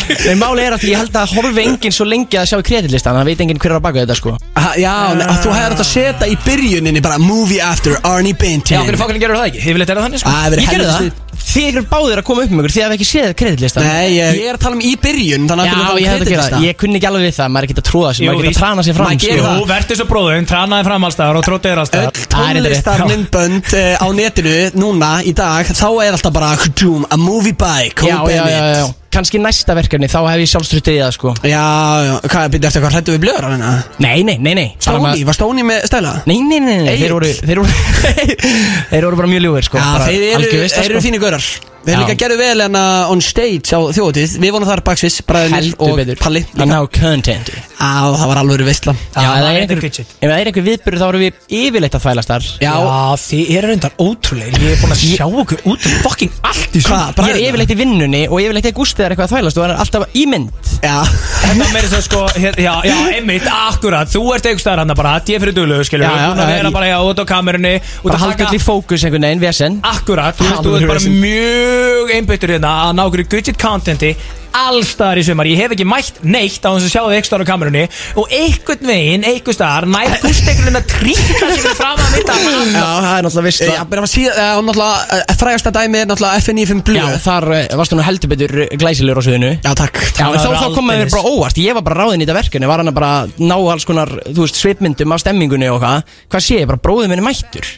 H: en máli er að ég held að horfi enginn svo lengi að sjá kreditlistan Það veit enginn hver er að baka þetta sko
B: Já, uh, þú hefði þetta að setja í byrjuninni bara Movie After Arnie Bentin
G: Já, hvernig fokkarinn gerur það ekki? Yfirleitt er það þannig, sko
B: Það hefur
H: Ég gerði
B: helviti
H: það
B: snill.
H: Þið eru báðir að koma upp með ykkur Þið hafa ekki séð kreditlistan
B: Nei, ég, ég er að tala um í byrjun,
H: Já,
B: þannig að
H: ég hefði að gera það
B: ég,
H: Ég kunni ekki alveg við það, maður er ekki að tróða sig
G: Jú,
H: Maður er ekki
G: víst.
H: að trana sig fram
B: Maður gerir
H: sko.
B: það.
G: Jú, verður svo bróðun, tranaði fram allstaðar og tróttiður allstaðar
B: Öll
H: Það er þetta
B: tónlistar
H: rétt, já.
B: myndbönd uh, á netinu núna í dag, þá er alltaf bara "Khdum, A Movie oh, by Cole
H: Já, já,
B: Bennett
H: já, já. Kanski næsta verkefni, þá hef ég sjálfstrutið í það sko
B: Já, já, hvað er byrjað eftir hvað hrættu við blöður að hérna?
H: Nei, nei, nei, nei Bara
B: Stóni,
H: maður-
B: var Stóni með stæla?
H: um Nei, nei, nei, nei.
B: Egill.
H: Þeir, voru, þeir, voru, þeir voru bara mjög ljúfir sko.
B: Já,
H: bara
B: þeir eru,
H: algjör veisla,
B: þeir eru
H: sko.
B: fínir gaurar Við
H: Já.
B: hefum líka gerðu vel hérna on stage á þjóðatíð Við vonum þar baksvis, bræðinir
H: Heldur
B: og
H: betur
B: Palli
H: Að
B: líka.
H: ná content Já,
B: Á, það var alveg veistla
H: ef
G: það er
H: það er
G: þetta
H: einhver-
G: kvittsit.
H: Ef það er einhver viðbyrður þá erum við yfirleitt að þvælast þar
B: Já,
G: þið eru reyndar ótrúleir Ég er búin að sjá okkur út um fucking allt í svona
B: hvað,
H: Ég er
B: bræðinir?
H: yfirleitt í vinnunni og yfirleitt er gústið er eitthvað að þvælast og það er alltaf í mynd
B: Já,
G: Þetta meiri svo sko, hér, já, já, einmitt, akkurat Þú ert einhver staðar hann bara, ég fyrir duglu, skilur
H: Já, já,
G: Þú
H: já,
G: vera
H: ég-
G: bara, já, út á kamerunni Út Ah,
H: Bara
G: að
H: halda
G: taka
H: allir í fókus einhvern veginn, VSN
G: Akkurat, þú veist, þú ert
H: Alvöru
G: bara
H: vesen.
G: mjög einbyttur hérna að ná okkur gadget contenti allstaðar í sumar, ég hef ekki mætt neitt á þess að sjá þið ekstra á kamerunni og einhvern veginn, einhvern staðar nær gústeklun að trýta sér fram að mitt
H: Já, það er náttúrulega
B: já, bara var síðan, já, náttúrulega eh, Frægasta dæmi er náttúrulega FN95
H: Já,
B: blöð
H: þar eh, varstu nú heldur betur glæsilegur á sviðinu
B: Já, takk
H: Já, en
G: Það
H: þá,
G: var
H: þá komum við
G: aldeilis.
H: bara óvart Ég var bara ráðin í þetta verkefni Var hann að bara ná alls konar, þú veist, svipmyndum af stemmingunni og hvað Hvað sé ég, bara bróðum minni mættur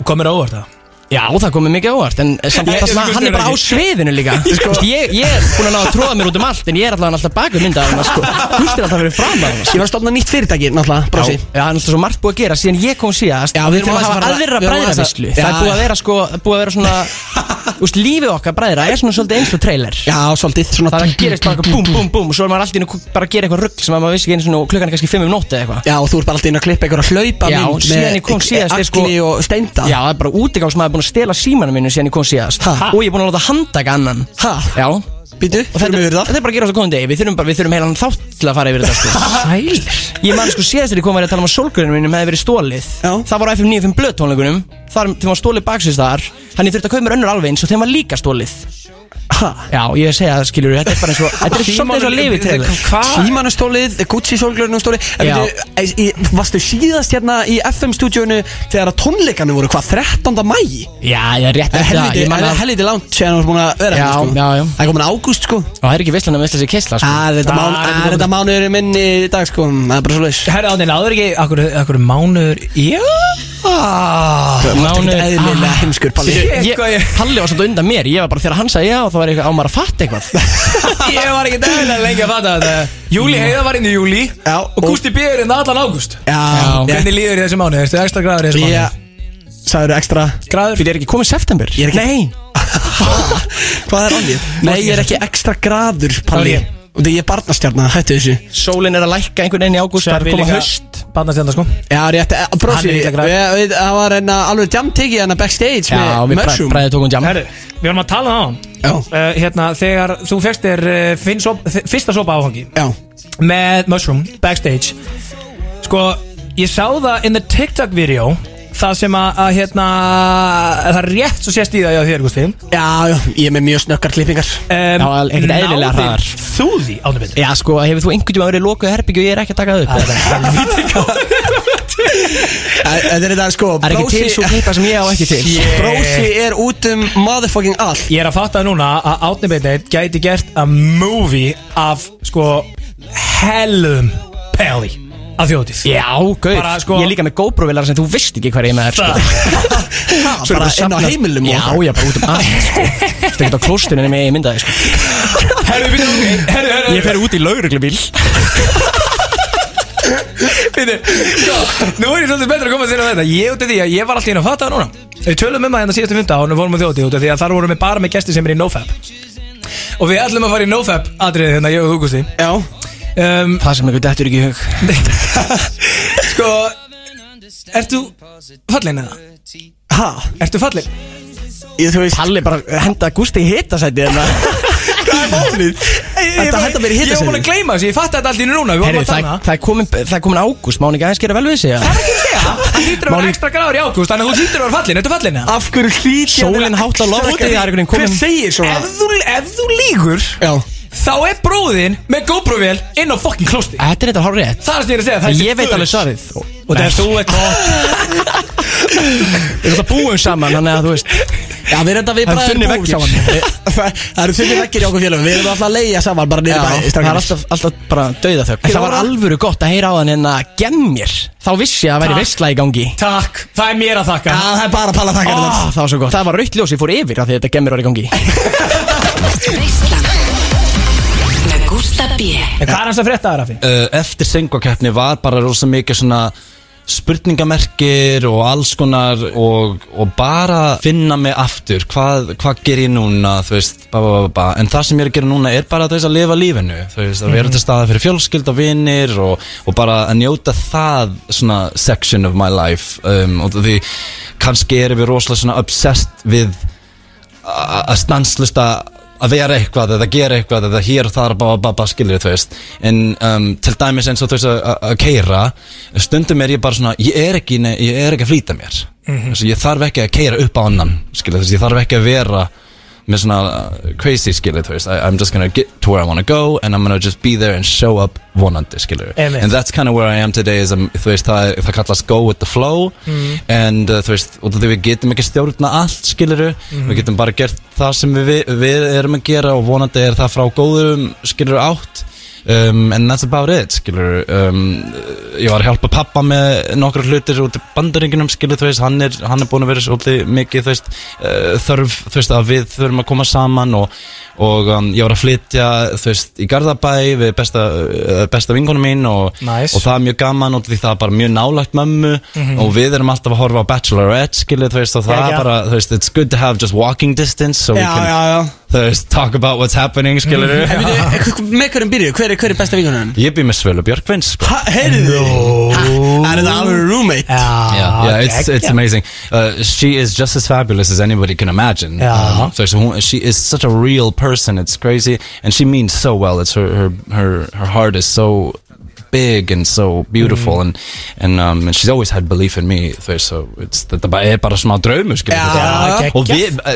G: Og komir óvart það
H: Já, það komið mikið óvart En samt
G: Ég-
H: það
G: ég-
H: sem að hann er bara á sviðinu líka sko, ég, ég er búin að ná að tróða mér út um allt En ég er alltaf alltaf baku mynda hann sko. Gústir alltaf fyrir fram að hann
B: Ég var að stofna nýtt fyrirtæki, náttúrulega,
H: Já,
B: brósi
H: sko. já, það er alltaf svo margt búið að gera síðan ég kom síðast
B: Já, við
H: Við
B: erum
H: þurfum
B: aðeins að
H: að hafa
B: fara-
H: aðra
B: við erum aðeins að-
H: bræðravislu
B: Já.
H: Það er búið að vera sko, búið að vera svona Úst, lífið okkar bræðra er svona svolítið eins og trailer
B: Já, svolítið, svona
H: Það er að gerist bara eitthvað búm, búm, búm Og svo er maður alltaf inn og bara að gera eitthvað rugg Sem að maður vissi ekki eins og klukkan er kannski 5 um nótt eða eitthvað
B: Já, og þú ert bara alltaf inn að klippa ykkur að hlaupa
H: Já,
B: mynd
H: síðan
B: með
H: ég kom síðast,
B: Agli
H: er sko-
B: og Steinda
H: Já, það er bara útigang sem maður er búin að stela símanum minu síðan ég kom síðast
B: Ha?
H: Og ég er búin að láta handtaka annan
B: Ha?
H: Já,
B: Býtu,
H: Og
B: fyrir
H: þetta,
B: mig verið það
H: þetta er bara að gera svo góðan degi Við þurfum, bara, við þurfum heilan þátt til að fara yfir þetta sko. Sæl Ég man sko síðast þegar ég kom að vera að tala um að sólgrunum mínum hefði verið stólið
B: Já.
H: Það var á FM 95 blöð tónleikunum Þar, þeim var stólið baksins þar Þannig ég þurfti að kaupa mér önnur alveg eins og þeim var líka stólið Já, ég segja það skilur Þetta er bara eins og Þetta er svolítið eins og lifið til
B: Tíman er stólið, eh, Gucci sólglörn er stólið En
H: Já.
B: veitu, í- í- Varstu síðast hérna í FM-stúdíunu Þegar að tónleikanum voru hvað, 13. mæ?
H: Já, ég er rétt
B: Það er
H: eftir
B: helviti-
H: ég man
B: það er
H: að-
B: helviti langt Sér hann var búin að vera
H: Já,
B: hérna, sko.
H: já, já
B: Það er komin ágúst sko
H: Og það er ekki visslan að vissla sér kessla sko
B: Það er Ah, þetta mán- það er þetta mánuður minn í dag sko Það er bara svo leis
G: Herra ánir, áður ekki Akkur, akkur mánuður Já
B: Mánuður
H: Mánuður-
B: Ah, Eðlilega heimskur Palli
H: Ah, Ég- ég- Palli var svolítið undan mér Ég var bara þegar hann sagði já Þá var ég eitthvað á maður að fatta eitthvað
G: Ég var ekki dæðilega lengi að fatta þetta Júli heiða var inn í júli
B: Já,
G: Og Gústi B er inn allan águst
B: Já, já.
G: Hvernig líður í þessu mánuði? Erstu ekstra græður í þessu
B: Já,
G: mánuði?
B: sagður ekstra
G: Græður?
H: Fyrir er ekki komið september
B: Ég er ekki-
H: Nei
B: Hvað er alveg? Nei, ég er ekki ekstra graður, Palli
G: Þá er ég.
B: Og því ég er barnastjarnar, hættu þessu
H: Sólin er að lækka einhvern veginn í ágúst Það er komið höst
G: Barnastjarnar sko
B: Já, rétt, eh, brosi
G: Hann er
B: við-
G: illa grafur.
B: við- Það var enna alveg jamtiki enna backstage
H: Já,
B: með
H: við bræ-
B: Mörsum
H: bræðið tókum jam
G: Herru, við varum að tala um á hann
B: Já,
G: uh, Hérna, þegar þú fegst þér uh, finn sop, þ- Fyrsta sopa áhangi
B: já,
G: Með Mushroom, backstage Sko, ég sá það In the TikTok video Það sem að, að hérna Það er rétt svo sést í það hjá þér, Gústi um,
B: já, já, ég er með mjög snöggar klippingar
H: al- ekkert eðlilega hraðar.
G: Þú því, ánum bindi
H: Já sko, hefur þú einhvern tíma verið lokuð herbyggju og ég er ekki að taka það
B: Ah,
H: upp eða?
B: Æ, Þetta er þetta sko
H: Það er ekki til svo klippa sem ég á ekki til
B: Brosi er út um motherfucking allt
G: Ég er að fatta núna að Átni Bindeit gæti gert a movie af sko hellum peli af þjóðtíð
H: Já, gauð
G: Bara, sko-
H: Ég er líka með GoPro-vilar sem þú veist ekki hver ég er með þær sko.
B: Ha, Bara inn á heimilum og
H: Já,
B: það.
H: já, bara út um allt sko. Það er ekki á klóstunni með ég myndaði sko.
G: Herðu, býtum við Herðu, herðu
H: Ég fer út í lauruglubíl
G: Sko, Nú er ég svolítið betur að koma þér á þetta Ég út af því að ég var alltaf inn að fatta það núna Við tölum um það hérna síðastu fymta og við vorum á þjóðtíð út af því að þar vorum við bara með gesti sem er í NoFap Og við ætlum að fara í NoFap atriðið hérna, ég og Hugusti
B: Já,
G: um,
H: Það sem einhvern dættur ekki í hug
G: Sko, ert þú fallin eða?
B: ha,
G: Ert þú fallin?
B: ég þú veist
H: Palli bara henda Gústi í hitasæti
B: hérna. Hvað er málið? Þetta hætti að vera
G: Ég var búin að
B: hittasinn
G: gleyma þessu, ég fatta þetta allt í einu núna Við vorum
H: Herru,
G: að
H: það,
G: tala um
H: það er komin, það er komin ágúst Má hann ekki aðeins gera vel við sig eða?
G: Það hýttur að vera
H: Máli-
G: ekstra gráður í ágúst Þannig að þú hýttur að vera fallin, ertu fallin eða?
B: Af hverju hlýt ég að vera
H: Sólin hátt á lofti,
B: extra-
H: það er einhvern veginn
B: Hver
H: komin-
B: segir svona?
G: Ef þú, ef þú lígur
B: Já,
G: Þá er bróðin með GoPro-vél inn á fucking klósti
H: Þetta er þetta hár rétt
G: Það er sem ég er að segja það er
H: Ég
G: sem
H: veit
G: þú
H: alveg
G: veist.
H: svarið
G: Og það er þú eitthvað
H: Við erum það búum saman Þannig að þú veist
B: já við erum þetta við
H: Það er
B: bræður
H: þunnir
B: búum
H: veggir.
B: saman Það það eru þunni vekkir í okkur félagum Við erum alltaf að leia saman bara niður í
H: Já,
B: bæ
H: það er
B: strákarnir.
H: alltaf, alltaf bara dauða þögn En það var alvöru gott að heyra á hann en að gemmir Þá vissi ég að það væri
G: Takk.
H: veistla í gangi
G: Takk, það er mér að
B: Já,
G: þakka
B: það er bara hérna. að palla þakka
H: Ah, Það var svo gott Það var rautt ljós, ég fór yfir af því að þetta gemmir var í gangi
F: Veislan Með Gústa B
G: En hvað er hans að frétta það, Rafi?
I: uh, eftir söngvakeppni var bara rosa mikið svona spurningamerkir og alls konar og, og bara finna mig aftur hvað, hvað ger ég núna þú veist, ba, ba, ba, ba. en það sem ég er að gera núna er bara þú veist, að lifa lífinu þú veist, að vera til staða fyrir fjölskyld og vinir og, og bara að njóta það svona section of my life um, og því kannski erum við rosalega svona obsessed við a- að stanslust að vera eitthvað eða gera eitthvað eða hér og þar bara, bara, bara skilur þú veist en um, til dæmis eins og þú veist að- að að keira stundum er ég bara svona ég er ekki, nei, ég er ekki að flýta mér mm ég þarf ekki að keira upp á annan skilur þú veist, ég þarf ekki að vera með svona uh, crazy skilur þú veist I, I'm just gonna get to where I wanna go and I'm gonna just be there and show up vonandi skilur
G: Einmitt.
I: and that's kind of where I am today is, um, þú veist, það, er- það kallast go with the flow and uh, þú veist, og því við getum ekki stjórna allt skiluru, við getum bara gert það sem við, við erum að gera og vonandi er það frá góðurum skiluru átt um, and that's about it skiluru um, ég var að hjálpa pappa með nokkra hlutir út í bandaringunum skilur þú veist, hann er, hann er búin að vera svolítið mikið þú veist, uh, þörf þú veist, að við þurfum að koma saman og, og um, ég var að flytja þú veist, í Garðabæ við besta, uh, besta vingunum mín og,
G: Nice.
I: og það er mjög gaman og því það er bara mjög nálægt mömmu
B: Mhm.
I: og við erum alltaf að horfa á Bachelorette skilur þú veist, og það
G: Já, já.
I: er bara þú veist, it's good to have just walking distance so we
B: Já,
I: can
B: já, já
I: þú veist, talk about what's happening skilur
B: En veitu, eh, Með hverjum byrju, hver er, hver er besta vingunan?
I: ég býð með Svölu Björkvins sko.
B: Heyrðu þið? Ha, Er þetta alveg roommate?
I: yeah, yeah, it's it's
G: geggjað.
I: amazing. Uh, she is just as fabulous as anybody can imagine.
G: Yeah.
I: Um, so she, she is such a real person. It's crazy, and she means so well. It's her her her, her heart is so big and so beautiful and, and, um, and she's always had belief in me þú veist, so it's, þetta bara- er bara smá draumur skilur
G: Já,
I: þetta.
G: geggjað.
I: og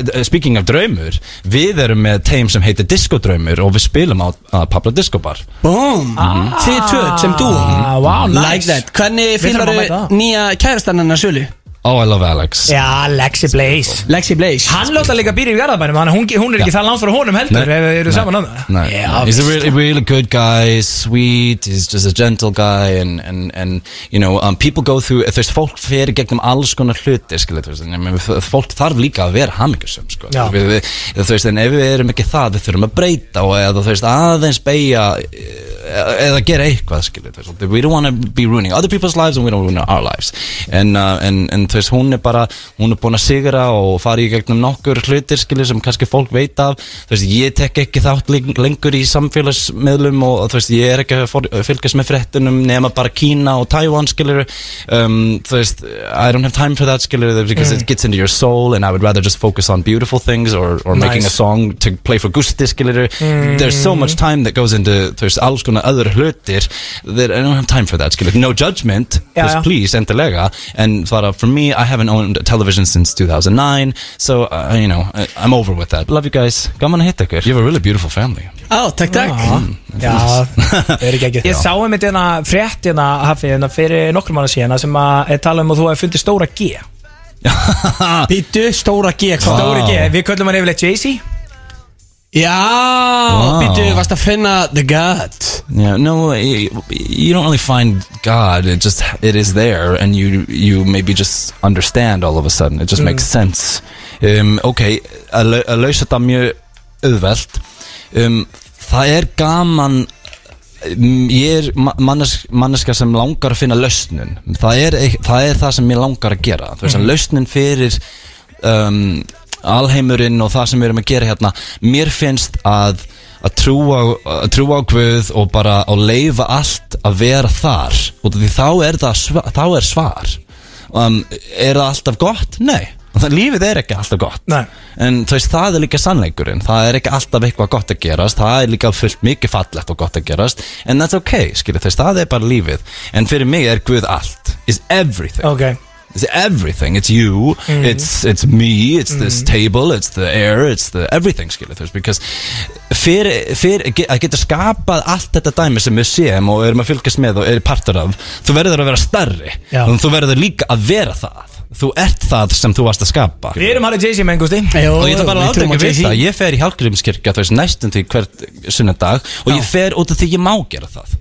I: við, uh, speaking of draumur við erum með teim sem heitir Diskodraumur og við spilum á uh, Pabla Disco Bar
B: Boom Þið tvö sem dú
G: Ah,
C: wow, nice.
B: Like that Hvernig
C: Við þurfum að mæta á.
B: finnur nýja kærastan hennar Sölu?
I: Oh, I love Alex
G: Já, Lexi Blaze
B: Lexi Blaze
G: Hann láta líka býr í jarðabænum Þannig að hún, hún er ekki
I: Já.
G: það langt frá honum heldur
I: Nei.
G: Ef þið eru
I: Nei.
G: saman á það
I: No,
G: Yeah,
I: no. he's a really, really good guy, sweet. He's just a gentle guy, and and and you know, um, people go through. Þú veist, fólk fer í gegnum alls konar hluti, skilur þú veist. en ég meina, f- Fólk þarf líka að vera hamingjusum, sko.
G: Já.
I: Við, við, þú veist, en ef við erum ekki það, við þurfum að breyta og eða þú veist aðeins beigja eh, eða gera eitthvað, skilur þú veist. We don't want to be ruining other people's lives and we don't ruin our lives. En uh, en en þú veist, hún er bara, hún er búin að sigra og fara í gegnum nokkur hlutir, skilur sem kannski fólk veit af. Þú veist, ég tek ekki þátt leng- lengur í samfélagsmiðlum og þú veist, ég er ekki að for- fylgjast með fréttunum nema bara Kína og Taiwan, skilur. Um, þú veist, I don't have time for that, skilur, because
G: Mm.
I: it gets into your soul and I would rather just focus on beautiful things or, or making a
G: Nice.
I: song to play for Gusti skilur
G: Mm.
I: there's so much time that goes into there's alls konar öðru hlutir that I don't have time for that skilur no judgment
G: Já,
I: just
G: já.
I: please endilega and bara for me I haven't owned television since 2009 so uh, you know I, I'm over with that love you guys gaman að hitta ykkur you have a really beautiful family
B: Á, takk, takk
G: Já, það er ekki ekki Ég sá einmitt hérna frétt hérna, Hafi, hérna fyrir nokkrum manna síðan sem að er tala um að þú hefði fundið stóra G
B: Býtu, stóra G hvað?
G: Stóra G, við köllum hann yfirleitt Jay-Z
B: Já,
I: Vá.
B: býtu, varst að finna The God
I: Yeah, no, you, you don't really find God. It just it is there, and you you maybe just understand all of a sudden. It just
G: Mm.
I: makes sense. Um, okay, að lau- að lausa þetta mjög auðvelt. Um, það er gaman. um, Ég er ma- mannes, manneska sem langar að finna lausnun. Það er, eik- það er það sem ég langar að gera. Þú veist að
G: Mhm.
I: lausnin fyrir um, alheimurinn og það sem við erum að gera hérna mér finnst að að trúa, að trúa á Guð og bara að leifa allt að vera þar og því þá er, það sva, þá er svar um, er það alltaf gott? Nei það, lífið er ekki alltaf gott
G: Nei.
I: en þú veist það er líka sannleikurinn það er ekki alltaf eitthvað gott að gerast það er líka fullt mikið fallegt og gott að gerast en that's ok, skilur þess, það er bara lífið en fyrir mig er Guð allt is everything
G: Ok
I: It's everything. It's you.
G: Mhm.
I: It's it's me. It's this table. It's the air. It's the everything. Skilur þú veist, because fyrir, fyrir ge- að geta skapað allt þetta dæmi sem við séum og erum að fylgjast með og erum partur af, þú verður að vera starri.
G: Já.
I: En þú verður líka að vera það. Þú ert það sem þú varst að skapa.
G: Við erum hann Jay-Z menn, Gusti
I: Og ég ætla bara að láta ekki vita Ég fer í Hallgrímskirkja þú veist næstum því hvert sunnudag Og ég fer út af því ég má gera það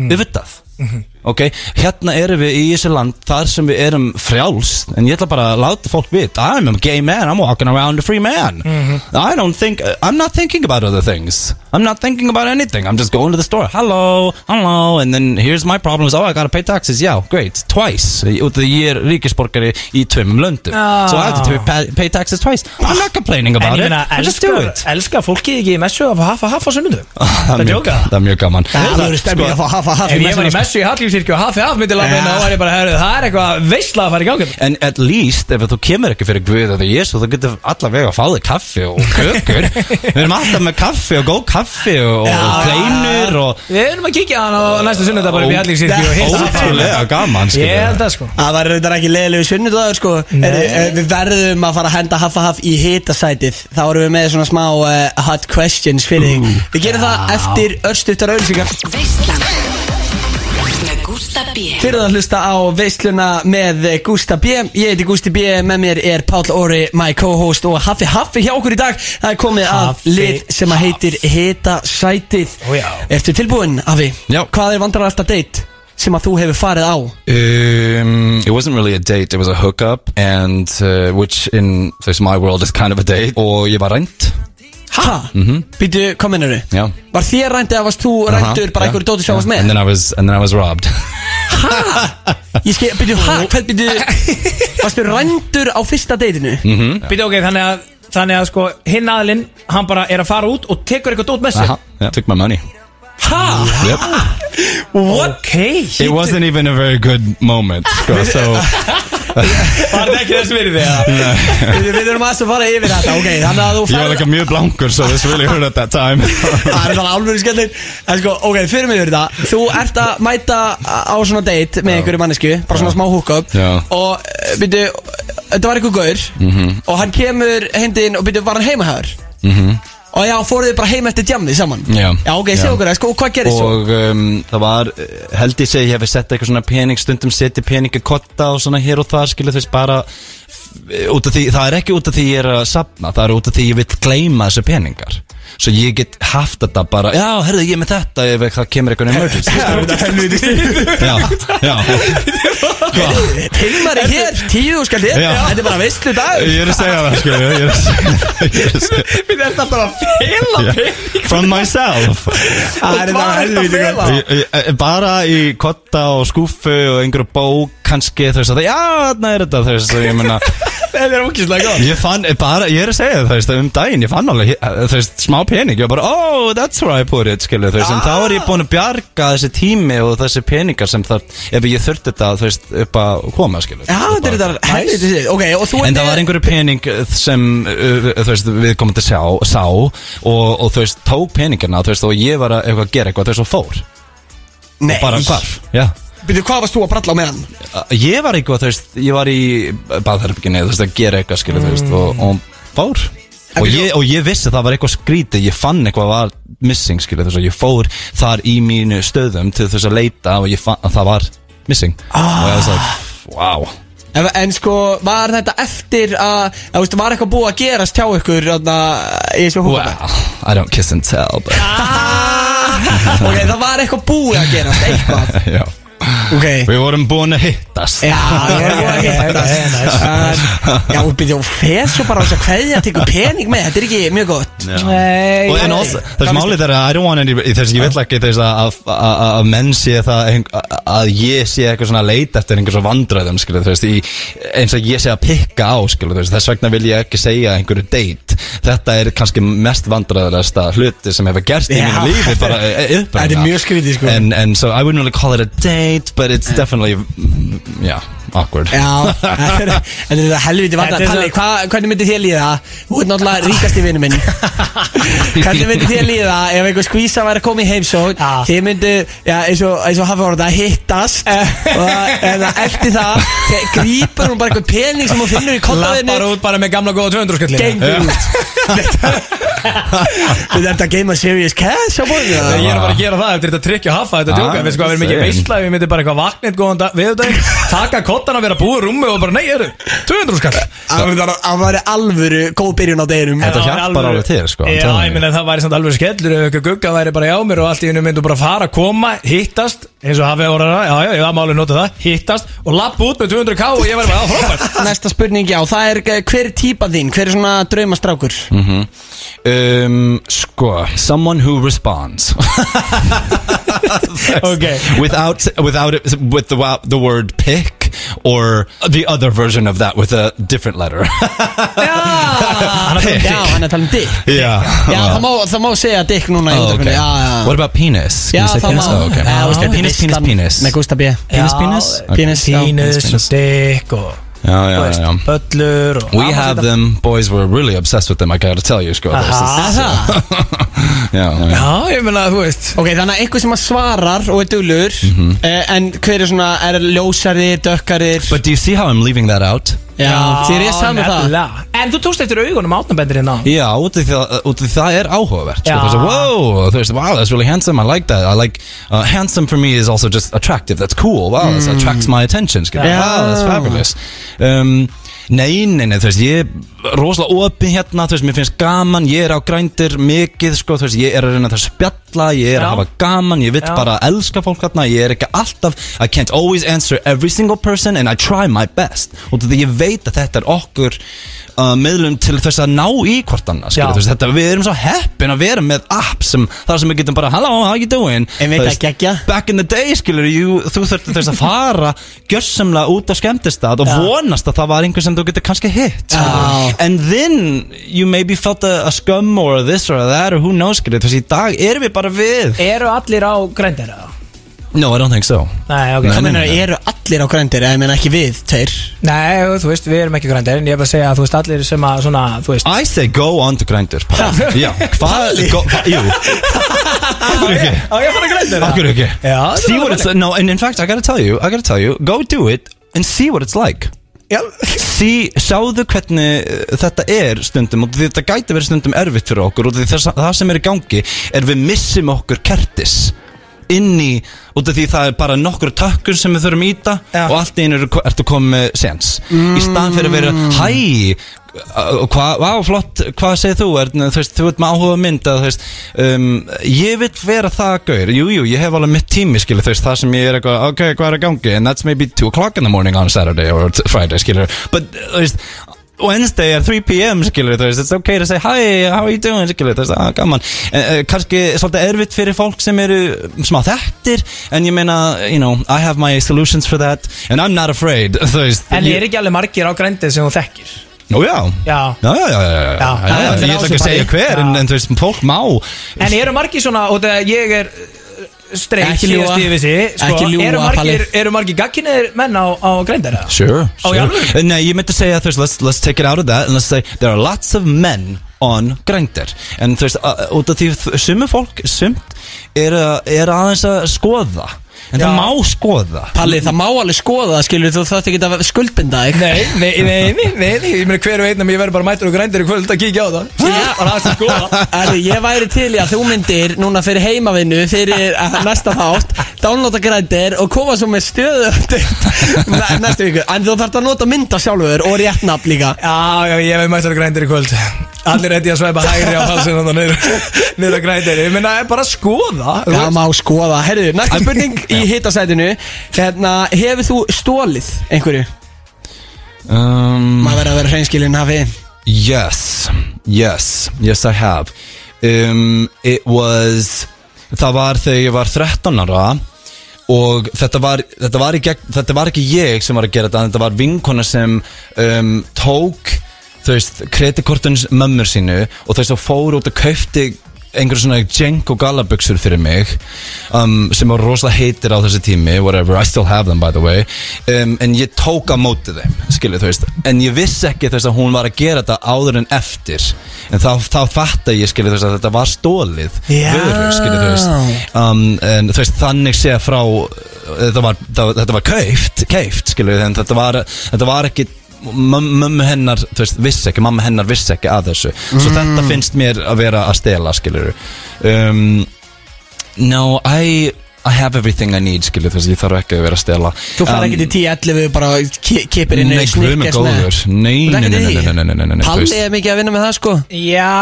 G: Mm.
I: Við veit það Ok, hérna erum við í þessu land Þar sem við erum frjáls En ég ætla bara að láta fólk vita I'm a gay man, I'm walking around a free man
G: Mm-hmm.
I: I don't think, uh, I'm not thinking about other things I'm not thinking about anything I'm just going to the store, hello, hello And then here's my problems, oh I gotta pay taxes Já, great, twice Út af því ég er ríkisborgari í tveimum löndum
G: Ah.
I: So I have to pay, pay taxes twice I'm not complaining
G: En
I: about
G: ég
I: it
G: meina,
I: I just do
G: elskar,
I: it
G: elskar fólkið ekki í messu að fá hafa hafa á sunnundum Það
I: er
G: er
I: mjög-
G: djóka
I: Það er mjög gaman
B: Það er stemming að fá hafa hafa
G: Ef ég var Ah, í messu í Hallgrímskirkju og hafi hafa myndi lafa inn og væri bara, herru, það er eitthvað veistla að fara í gangi
I: En at least ef þú kemur ekki fyrir Guð eða Jésu þú getur allavega að fá þig kaffi og kökur Við erum alltaf með kaffi og góð kaffi og, og kleinur og
G: Við erum að kíkja hann á næsta sunnudag bara upp í Hallgrímskirkju og hitta
I: Ótrúlega gaman
G: Ég
I: skilur
G: held það sko
B: Það var reyndar ekki leiðilegu sunnudagur sko er,
G: Nei.
B: er, Við verðum að fara að henda Haffa Haff í hitasætið Þá erum við með svona smá uh, hot questions fyrir þig Við gerum það eftir örstuttar auðlýsingar
F: Veislan Með Gústa B
B: Fyrir að hlusta á veisluna með Gústa B Ég heiti Gústi B, með mér er Páll Óri, my co-host og Haffi Haffi hjá okkur í dag Það er komið af
G: Haffi
B: lið sem að heitir hitasætið
G: Ó, já.
B: Ertu tilbúinn, Haffi?
I: Já.
B: Hvað er vandrarasta date sem að þú hefur farið á?
I: Um, it wasn't really a date, it was a hookup and uh, which in this my world is kind of a date og ég var rænt
B: Ha? Mm -hmm. Býtu, hvað mennur þau?
I: Já
B: Var þér rændi eða varst þú rændur bara einhverju dóti sem varst
I: And
B: með?
I: then I was, and then I was robbed
B: Ég skil, byrju, hæ, hvað byrju Varstu rændur á fyrsta deytinu?
G: Býta ok, þannig að Þannig að sko, hinn aðlinn, hann bara er að fara út og tekur eitthvað dót með sér
I: Aha, yeah. Took my money
B: Hæ?
I: Yep
G: What? Ok
I: It wasn't even a very good moment sko, so
G: Var þetta ekki þess virði?
I: Nei.
B: Við við erum aðeins að fara yfir þetta Ok, þannig að þú
I: Ég var
B: færð
I: líka mjög blankur So this really hurt at that time
B: Það er svona alveg skellin En sko, ok, fyrir mig yfir þetta Þú ert að mæta á svona date með einhverju mannesku Bara svona smá húkab
I: Já.
B: Og, eh, byrju, þetta var einhver gaur
I: Mhm.
B: Og hann kemur heimdinn og byrju, var hann heimahæður
I: Mhm.
B: Og já, fóruð þið bara heim eftir djamni saman
I: Já.
B: ok, segðu
I: Já.
B: okkur það, sko, hvað gerðist svo?
I: Og um, það var, eh, held ég segi, ég hefði sett eitthvað svona pening, stundum setið pening í kotta og svona hér og þar, skilja þú veist, bara eh, út af því, það er ekki út af því ég er að sapna, það er út af því ég vil gleyma þessu peningar. Svo ég get haft þetta bara, já, herðu, ég er með þetta ef það kemur eitthvað emergency. já, já.
B: Tilmari hér, tíu skall hér
I: Já.
B: Þetta er bara veistlu dag
I: Ég er að segja það, sko, ég er að segja það, ég er að segja það.
B: Við erum alltaf að fela
I: Já. From myself
B: Það er það helviti gott.
I: Ég- ég- ég- e, Bara í kotta og skúfu og einhverju bók kannski þú veist að það, já, þarna er þetta þú veist að ég meina
B: Þetta er ókýrslega gott
I: Ég fann, eh, bara, ég er að segja það, þú veist, um daginn, ég fann alveg, eh, þú veist, smá pening, ég var bara, oh, that's where I put it, skilu, þú veist, en þá er
B: Ah.
I: ég búin að bjarga þessi tími og þessi peningar sem þar, ef ég þurfti þetta, þú veist, upp að koma, skilu.
B: Já, þetta er þetta helviti sér Ok, og þú
I: En það var einhverju pening eh, sem uh, uh, þú veist, við komum til sjá, sá og, og þú veist, tók peningana þú veist, og ég var að eitthvað, gera eitthvað, þú veist, og fór
B: Nei.
I: og bara hvarf já.
B: Byrju, hvað varst þú að bralla á meðan?
I: Ég var eitthvað, þú veist, ég var í baðherbygginu, þú veist, að gera eitthvað, skilu, þú veist og, og fór og ég, og ég vissi að það var eitthvað skrítið, ég fann eitthvað var missing, skilu, þú veist, og ég fór þar í mínu stöðum til þess að leita og ég fann að það var missing ah. og ég var svo, wow
B: En, en sko, var þetta eftir að Þú veist, var eitthvað búið að gerast hjá ykkur Þannig að ég svo húka
I: Well, I don't kiss and tell, but
B: Ok, það var eitthvað búið að gerast Eitthvað
I: Já
B: okay.
I: Við vorum búin að hittast
B: Já, það var búið að gerast En- Já, byrju, og feð svo bara á þess að kveðja Tekur pening með, þetta er ekki mjög gott
I: Og en also, þess málið er að I don't want any Þess ég vill ekki þess að- að að- að- að menn sé það ein- að- að ég sé eitthvað svona að leita eftir einhver svo vandræðum skilu, þess, í, eins og ég sé að pikka á skilu, þess, þess vegna vil ég ekki segja einhverju date Þetta er kannski mest vandræðilegsta hluti sem hefur gerst í
B: Já.
I: mínu lífi bara e, upp
B: Þetta er mjög skrítið, sko.
I: and, and so I wouldn't really call it a date but it's definitely mm, yeah, awkward
B: Já, þetta er- þetta er þetta helviti vanda
G: Þetta er
B: Palli, hva, hvernig myndi þér líða? Þú ert náttúrulega ríkasti vinnu minn Hvernig myndi þér líða ef einhver skvísa væri að koma í heimsók
G: Já.
B: Þið myndu, já, eins og, eins og hafa orðið að hittast
G: Eh.
B: og það- en það- eftir það þegar grípur hún bara einhver pening sem hún finnur í
G: Lappar
B: kollaðinu
G: út bara með gamla góða 200 skallina
B: gengur út Við erum að geima serious cash á bóðinu
G: Ég er að fara að gera það eftir þetta trikki og hafa þetta
I: Ah,
G: djóka Við sko að vera mikið
I: same.
G: veistla Við myndum bara eitthvað vakna eitt góðan dag Viðudag Taka kottan að vera búið rúmi og bara Nei, eru 200 skall
B: Það væri alvöru góð byrjun á deginum
I: Þetta
G: Já,
I: hjálpar
G: alvöru-
I: alveg til, sko,
G: Já,
I: tjáðu
G: ég
I: mig.
G: meina það væri samt alveg skellur Ef ykkur gugga væri bara hjá mér og allt í hennu myndu bara fara koma Hittast, eins og hafið orðana Já, já, já, það má alveg nota það Hittast og lappa út með 200k og ég væri bara á frábært
B: Næsta spurning, já, það er eh, hver er típa þín, hver er svona draumastrákur?
I: Um, sko, someone who responds
G: Okay.
I: without without it, with the wa- the word pick or the other version of that with a different letter.
B: Já,
I: Dick.
B: já, hann er að tala um Ah. dick
I: yeah.
B: Já, það má, það má segja dick núna í
I: Oh,
B: útdarpinu
I: okay.
B: Já, já
I: What about penis? Can
B: Já,
I: you say
B: það
I: penis?
B: má
I: Oh, okay.
B: Já, veist,
I: penis, penis,
B: veislan
I: penis.
B: Með Gústa B
I: Penis, penis? Okay.
B: Penis, já
G: Penis og dick og
I: Já, já,
G: þú veist,
I: já.
G: Böllur og
I: We have them. Boys were really obsessed with them. I gotta tell you, sko. This is-
B: Það það
I: Yeah, yeah.
G: Já, ég meina, þú veist
B: Ok, þannig að einhver sem að svarar og er duglur eh, En hver er svona, er ljósari, dökkarir
I: But do you see how I'm leaving that out?
B: Já, þér ég saman það
G: nefnilega. En þú tókst eftir augunum átnabendir hérna
I: Já, út af því að út af því það er áhugavert sko.
G: Já.
I: Þú veist, wow, þú veist, wow, that's really handsome, I like that I like, uh, handsome for me is also just attractive That's cool, wow, that attracts my attention skilur.
B: Já.
I: Wow, that's fabulous um, Nei, nei, nei, þú veist, ég er rosalega opið hérna, þú veist, mér finnst gaman ég er á grændir mikið, sko, þú veist ég er að reyna það að spjalla, ég er
G: Já.
I: að hafa gaman ég vill
G: Já.
I: bara elska fólk hérna, ég er ekki alltaf I can't always answer every single person and I try my best og því ég veit að þetta er okkur uh, meðlum til þess að ná í hvort annað
G: Já.
I: skilur, þú veist, þetta, við erum svo heppin að vera með app sem, þar sem við getum bara hello, how you doing
B: Einmitt,
I: Þú veist,
B: að gegja.
I: back in the day, skilur, you, þú þurfti þess að fara gjörsamlega út á skemmtistad og vonast að það var einhver sem þú getur kannski hitt
B: Já.
I: skilur. and then you maybe felt a, a skum or this or that or who knows, skilur, þess að í dag erum við bara við
C: Eru allir á grændera?
I: No, I don't think so
G: Nei, ok
B: Það meina, eru allir á grændir, eða ég meina ekki við, tveir
G: Nei, þú veist, við erum ekki grændir En ég er bara að segja að þú veist allir sem að svona, þú veist
I: I say go on to Grindr bara. Já, hvað? go- Jú Akkur ekki
G: Á ég að fara grændir
I: Akkur ekki
G: Já,
I: See what it's like No, and in fact, I gotta tell you I gotta tell you Go do it and see what it's like
G: Já.
I: See, sjáðu hvernig uh, þetta er stundum og því þetta gæti verið stundum erfitt fyrir okkur og því þess, það sem er í gangi er við missum okkur kertis inn í, út af því það er bara nokkur tökkun sem við þurfum íta ja. og allt í einu eru- ertu komið með sens í staðan fyrir að vera, hæ uh, og hvað, vá, flott, hvað segir þú er, þú veist, þú ert með áhuga á mynd að, þú veist, um, ég vil vera það gaur, jú, jú, ég hef alveg mitt tími skilur, þú veist, það sem ég er eitthvað, ok, hvað er að gangi and that's maybe 2 o'clock in the morning on Saturday or t- Friday, skilur, but, þú veist Wednesday at 3 p.m. skilur þú veist, it's okay to say hi, how are you doing skilur þú veist, ah, gaman eh, eh, kannski svolítið erfitt fyrir fólk sem eru smá þekktir, en ég meina you know, I have my solutions for that and I'm not afraid, þú veist
G: En er ekki alveg margir á grændir sem þú þekkir
I: Nú já
G: Já.
I: Já, já, já, já, já,
G: Já,
I: já, já,
G: það er
I: Ég ætla ekki að
G: bara-
I: segja hver, en, en þú veist, fólk má
G: En eru margir svona, og það ég er uh, streik
B: Ekki ljúga. Ekki ljúga,
G: sko. Eru margir,
B: Palli.
G: eru margir gagkinniðir menn á, á grændir eða?
I: Sure,
G: Á, í
I: sure.
G: alvöru?
I: Eh, Nei, ég myndi segja, þú veist, let's, let's take it out of that and let's say, there are lots of men on grændir en þú veist, uh, út af því þ- sumu fólk, sumt er, að- er aðeins að skoða en það
G: Já.
I: má skoða
B: Palli, það má alveg skoða það, skilur þú þátt ekki að skuldbinda þig
G: Nei, nei, nei, nei, nei, nei, ég meina hver veit nema ég verður bara mættur og grændir í kvöld að kíkja á það
B: Já.
G: og það er sem skoða
B: Erðu, ég væri til í að þú myndir núna fyrir heimavinnu fyrir að næsta þátt downloada grændir og koma svo með stöðu næstu viku en þú þarf að nota mynda sjálfur og rétt nafn líka
G: Já, já, ég verður mættur og grændir í kvöld Allir reyndi að svæpa hægri á halsinn og niður, niður að grændir Ég meina, bara skoða þú
B: Já,
G: veist.
B: má skoða, herðu, næsta spurning í hitasætinu hérna, hefur þú stólið einhverju?
I: um,
B: Maður verður að vera hreinskilinn hafi
I: Yes, yes, yes I have um, It was Það var þegar ég var 13 ára Og þetta var, þetta, var í gegn, þetta var ekki ég sem var að gera þetta en Þetta var vinkona sem um, tók Þú veist, kreditkortins mömmur sínu Og þess að fór út og kaupti einhverjum svona Jenko galabuxur fyrir mig um, sem var rosalega heitir á þessu tími whatever, I still have them by the way um, en ég tók á móti þeim skilur þú veist, en ég vissi ekki þess að hún var að gera þetta áður en eftir en þá, þá fatta ég skilur þú veist að þetta var stólið
G: Já.
I: vöru, skilur þú veist um, en þú veist, þannig sé frá þetta var, það, þetta var kauft keift, skilur þú, en þetta var þetta var ekki möm- mömmu hennar, þú veist, vissi ekki mamma hennar vissi ekki að þessu svo þetta finnst mér að vera að stela, skilur um, No, I, I have everything I need, skilur þess að ég þarf ekki að vera að stela
B: Þú fara ekki til 10-11 bara ki- kipir inn
I: Nei, guð með góður Nei, nei, nei, nei, nei, nei, nei, nei, nei, nei þú
B: Palli
I: veist.
B: er mikið að vinna með það sko
G: Já,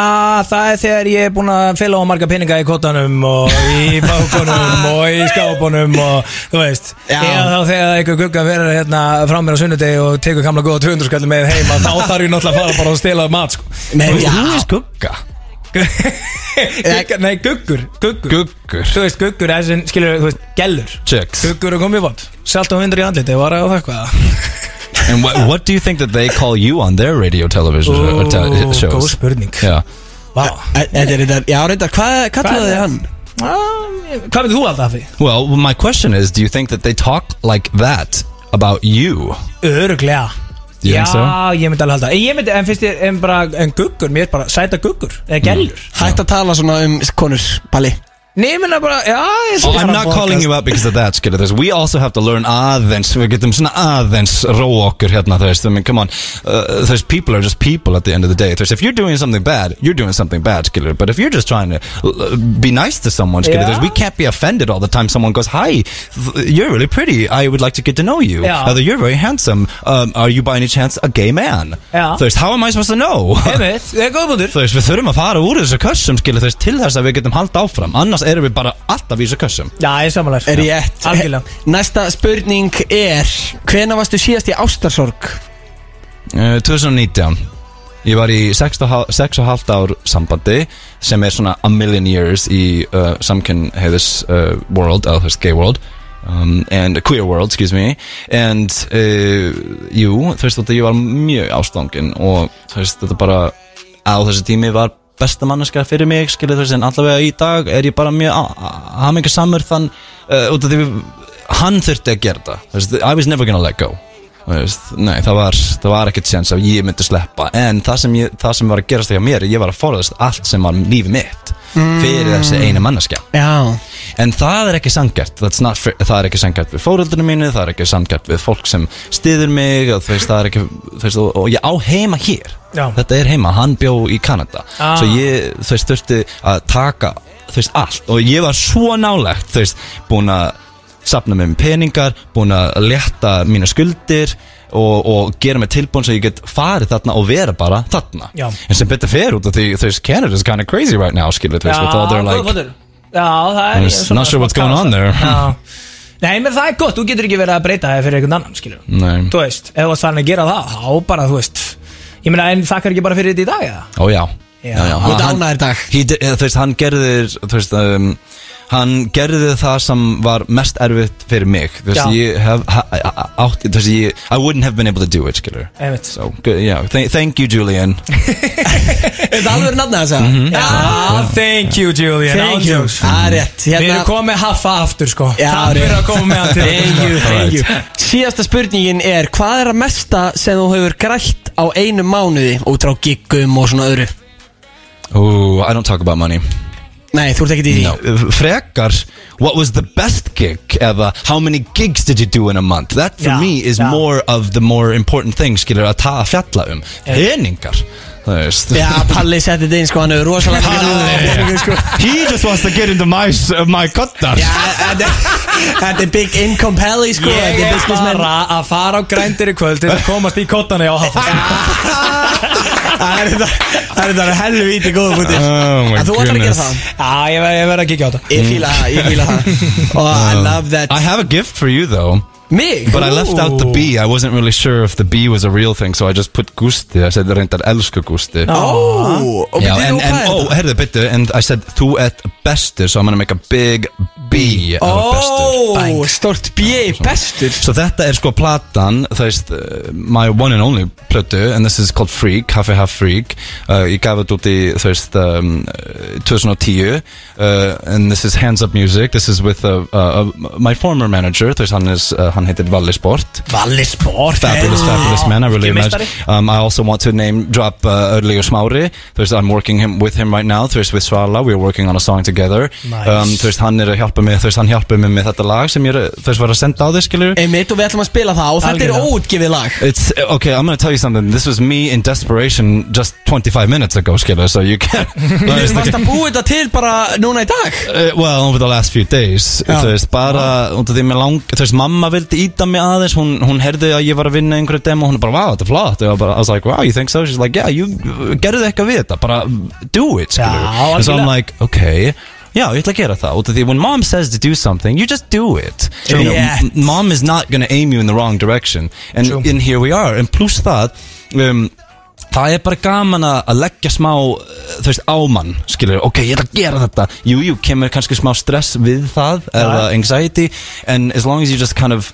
G: það er þegar ég er búin að fela á marga peninga í kottanum og í bákonum og í skápunum og þú veist
B: Já.
G: Eða þá þegar einhver gugga verður hérna frá mér á sunnudegi og tekur gamla góða 200 skall með heima þá þarf ég náttúrulega að fara bara og stela mat sko
B: Nei,
I: Þú veist,
B: já.
I: Þú veist gugga
G: Gugga, nei, guggur, guggur
I: Guggur
G: Þú veist, guggur er sem, skilur, þú veist, gellur
I: Chicks
G: Guggur er komið vond Salt og hundur í andliti, var það eitthvað
I: And what, what do you think that they call you on their radio television or te shows?
G: Góð spurning
I: Já
G: Vá
B: Þetta er þetta, já reyndar, hvað kallaði
G: Hvað-
B: hann?
G: Ah, Hvað myndir þú alltaf að því?
I: Well, my question is, do you think that they talk like that about you?
G: Öruglega
I: You
G: Já,
I: think so?
G: ég myndi alveg halda En ég myndi, en finnst ég, en bara, en guggur Mér er bara sæta guggur,
I: Mm.
G: eða gellur
B: Hætt að tala svona um konur, Palli
G: Nei, ég myndi bara, já ég
I: Oh, I'm not calling you out because of that, skilur þú veist We also have to learn aðeins Við getum svona aðeins róa okkur hérna, þú veist I mean, come on uh, Þú veist, people are just people at the end of the day Þú veist, if you're doing something bad You're doing something bad, skilur But if you're just trying to uh, be nice to someone, skilur þú
G: Já.
I: veist We can't be offended all the time Someone goes, hi, th- you're really pretty I would like to get to know you
G: Já.
I: Either you're very handsome um, Are you by any chance a gay man?
G: Já.
I: Þú veist, how am I supposed to know?
G: Einmitt, það er góð búndur
I: Þú veist, við þurfum að fara úr þessu kössum, skilur þú veist, til þess að við getum halda áfram, annars erum við bara er alltaf í þessu kössum.
G: Já, ég samanlega
B: Er ég ett?
G: Algjörlega
B: Næsta spurning er Hvena varstu síðast í ástarsorg?
I: Uh, 2019 Ég var í 6 og hál- sex og hálft ár sambandi sem er svona a million years í uh, samkynn heiðis uh, world, eða þú veist gay world um, and queer world, excuse me and uh, jú, þú veist þetta ég var mjög ástangin og þú veist þetta bara á þessu tími var besta manneska fyrir mig skilur þú veist en allavega í dag er ég bara mjög haminga samur þann uh, út af því við- hann þurfti að gera það þú veist, I was never gonna let go Þú veist, nei það var, það var ekkert séns að ég myndi sleppa en það sem, ég, það sem var að gerast hjá mér ég var að forðast allt sem var lífið mitt fyrir þessi einu manneska
B: Já
I: En það er ekki sangjart Það er ekki sangjart við fóreldrinu mínu Það er ekki sangjart við fólk sem stiður mig og, þú veist, það er ekki, þú veist, og, og ég á heima hér
G: Já.
I: Þetta er heima, hann bjó í Kanada
G: Ah.
I: Svo ég þú veist, þurfti að taka þú veist, allt Og ég var svo nálegt þú veist, Búin að sapna mér með peningar Búin að létta mína skuldir Og, og gera mig tilbúin svo ég get farið þarna og vera bara þarna
G: Já.
I: en sem betur fer út af því þú veist Canada's kind of crazy right now skilur við
G: Já,
I: with all their
G: góður
I: like
G: punktur. Já, það er
I: I'm just not sure what's going on there.
G: Já. Nei, menn það er gott, þú getur ekki verið að breyta það fyrir einhvern annan, skilur
I: Nei.
G: Þú veist, ef þú varst farin að gera það, þá bara, þú veist Ég meina, en þakkar ekki bara fyrir þetta í dag, eða?
I: Ó já
G: Já.
B: Þú ert ánægður í dag.
I: he, did- eða, Þú veist, hann gerðir Þú veist, um, hann gerði það sem var mest erfitt fyrir mig Þú veist,
G: Já.
I: ég hef ha, á- átt Þú veist, ég I wouldn't have been able to do it, skilur
G: Einmitt.
I: So, good, yeah, thank, thank you, Julian
B: Er þetta alveg nafna þess að?
G: Já, Ah, thank you Julian
B: Thank Mhm. you.
G: Ándjóks.
B: Það er rétt
G: Við erum
B: Hérna
G: komið með haffa aftur sko
B: Já,
G: Takk fyrir
B: rétt.
G: að koma með hann til
B: Thank you, thank you Síðasta spurningin er Hvað er að mesta sem þú hefur grætt á einu mánuði út frá giggum og svona öðru?
I: Ooh, I don't talk about money
B: Nei, þú ert ekkert í því
I: no. uh, Frekar, what was the best gig eða how many gigs did you do in a month That for
G: Já,
I: me is
G: já.
I: more of the more important thing skilur að ta að fjalla um Peningar Þú veist
B: Já, Palli setti þetta inn sko, hann hefur rosalega mikið náðu sko.
I: He just wants to get into my, uh, my kottar
B: Já, þetta- Þetta er big income Palli sko
G: Ég
B: Þetta er
G: er
B: businessman
G: bara að fara á grændir í kvöld til að komast í kottana á haffa
B: Það er þetta- það er þetta helvíti góða bútið
I: Oh
B: Þú
I: my
B: ætlar að gera
I: goodness.
B: það
G: Já, ég verð ég verð að kíkja á þetta
B: Ég fíla það, ég fíla það Oh, I love that
I: I have a gift for you though,
B: Mig?
I: but I left out the B. I wasn't really sure if the B was a real thing, so I just put Gusti. I said reyndar elsku Gusti.
B: Oh, Ó, og
I: Yeah,
B: byrju,
I: and,
B: og
I: and
B: hvað er
I: oh,
B: þetta?
I: herðu, bitte, and I said þú ert bestur, so I'm gonna make a big B out of
B: Oh,
I: bestur.
B: Ó, stort bjei bestur
I: So þetta er sko platan, það veist, uh, my one and only plötu, and this is called Freak, Half a Half Freak. Uh, ég gaf þetta út í, þú veist, um, uh, 2010, uh, and this is Hands Up Music, this is with uh, uh, my former manager, þú veist, hann, is, uh, hann heitir Valli Sport.
B: Valli sport
I: Fabulous, fabulous man. I really imagine. Um, I also want to name drop uh, Örlygur Smári. Þú veist, I'm working him, with him right now. Þú veist, with Svala, we're working on a song together.
G: Nice.
I: Um, þú veist, hann er að hjálpa mig, þú veist, hann hjálpa mig með þetta lag sem ég er, að- þú veist, var að senda á þig, skilur.
B: Einmitt og við ætlum að spila það og þetta er
G: Algjörlega.
B: óutgefið lag
I: It's okay. I'm gonna tell you something. This was me in desperation just 25 minutes ago, skilur. So you can. Þú
B: Við
I: veist,
B: varst að búið þetta til bara núna í dag
I: Uh, well, over the last few days
B: Já.
I: Þú veist, bara, út af því mér lang Þú veist, mamma vildi íta mig aðeins Hún, hún herði að ég var að vinna einhverju demo Hún er bara, wow, þetta er flott Og ég var bara, I was like, wow, you think so? She's like, yeah, you uh, gerðu eitthvað við þetta Bara, do it, skilur
G: Já,
I: And so I'm
G: algjörlega.
I: like, okay Já, ég ætla að gera það Út af því, when mom says to do something You just do it
G: True.
I: You know,
G: Yeah.
I: m- Mom is not gonna aim you in the wrong direction And,
G: True.
I: and here we are And plus það um, Það er bara gaman að að leggja smá uh, Þú veist, ámann, skilur Ok, ég ætla að gera þetta Jú, jú, kemur kannski smá stress við það Eða anxiety And as long as you just kind of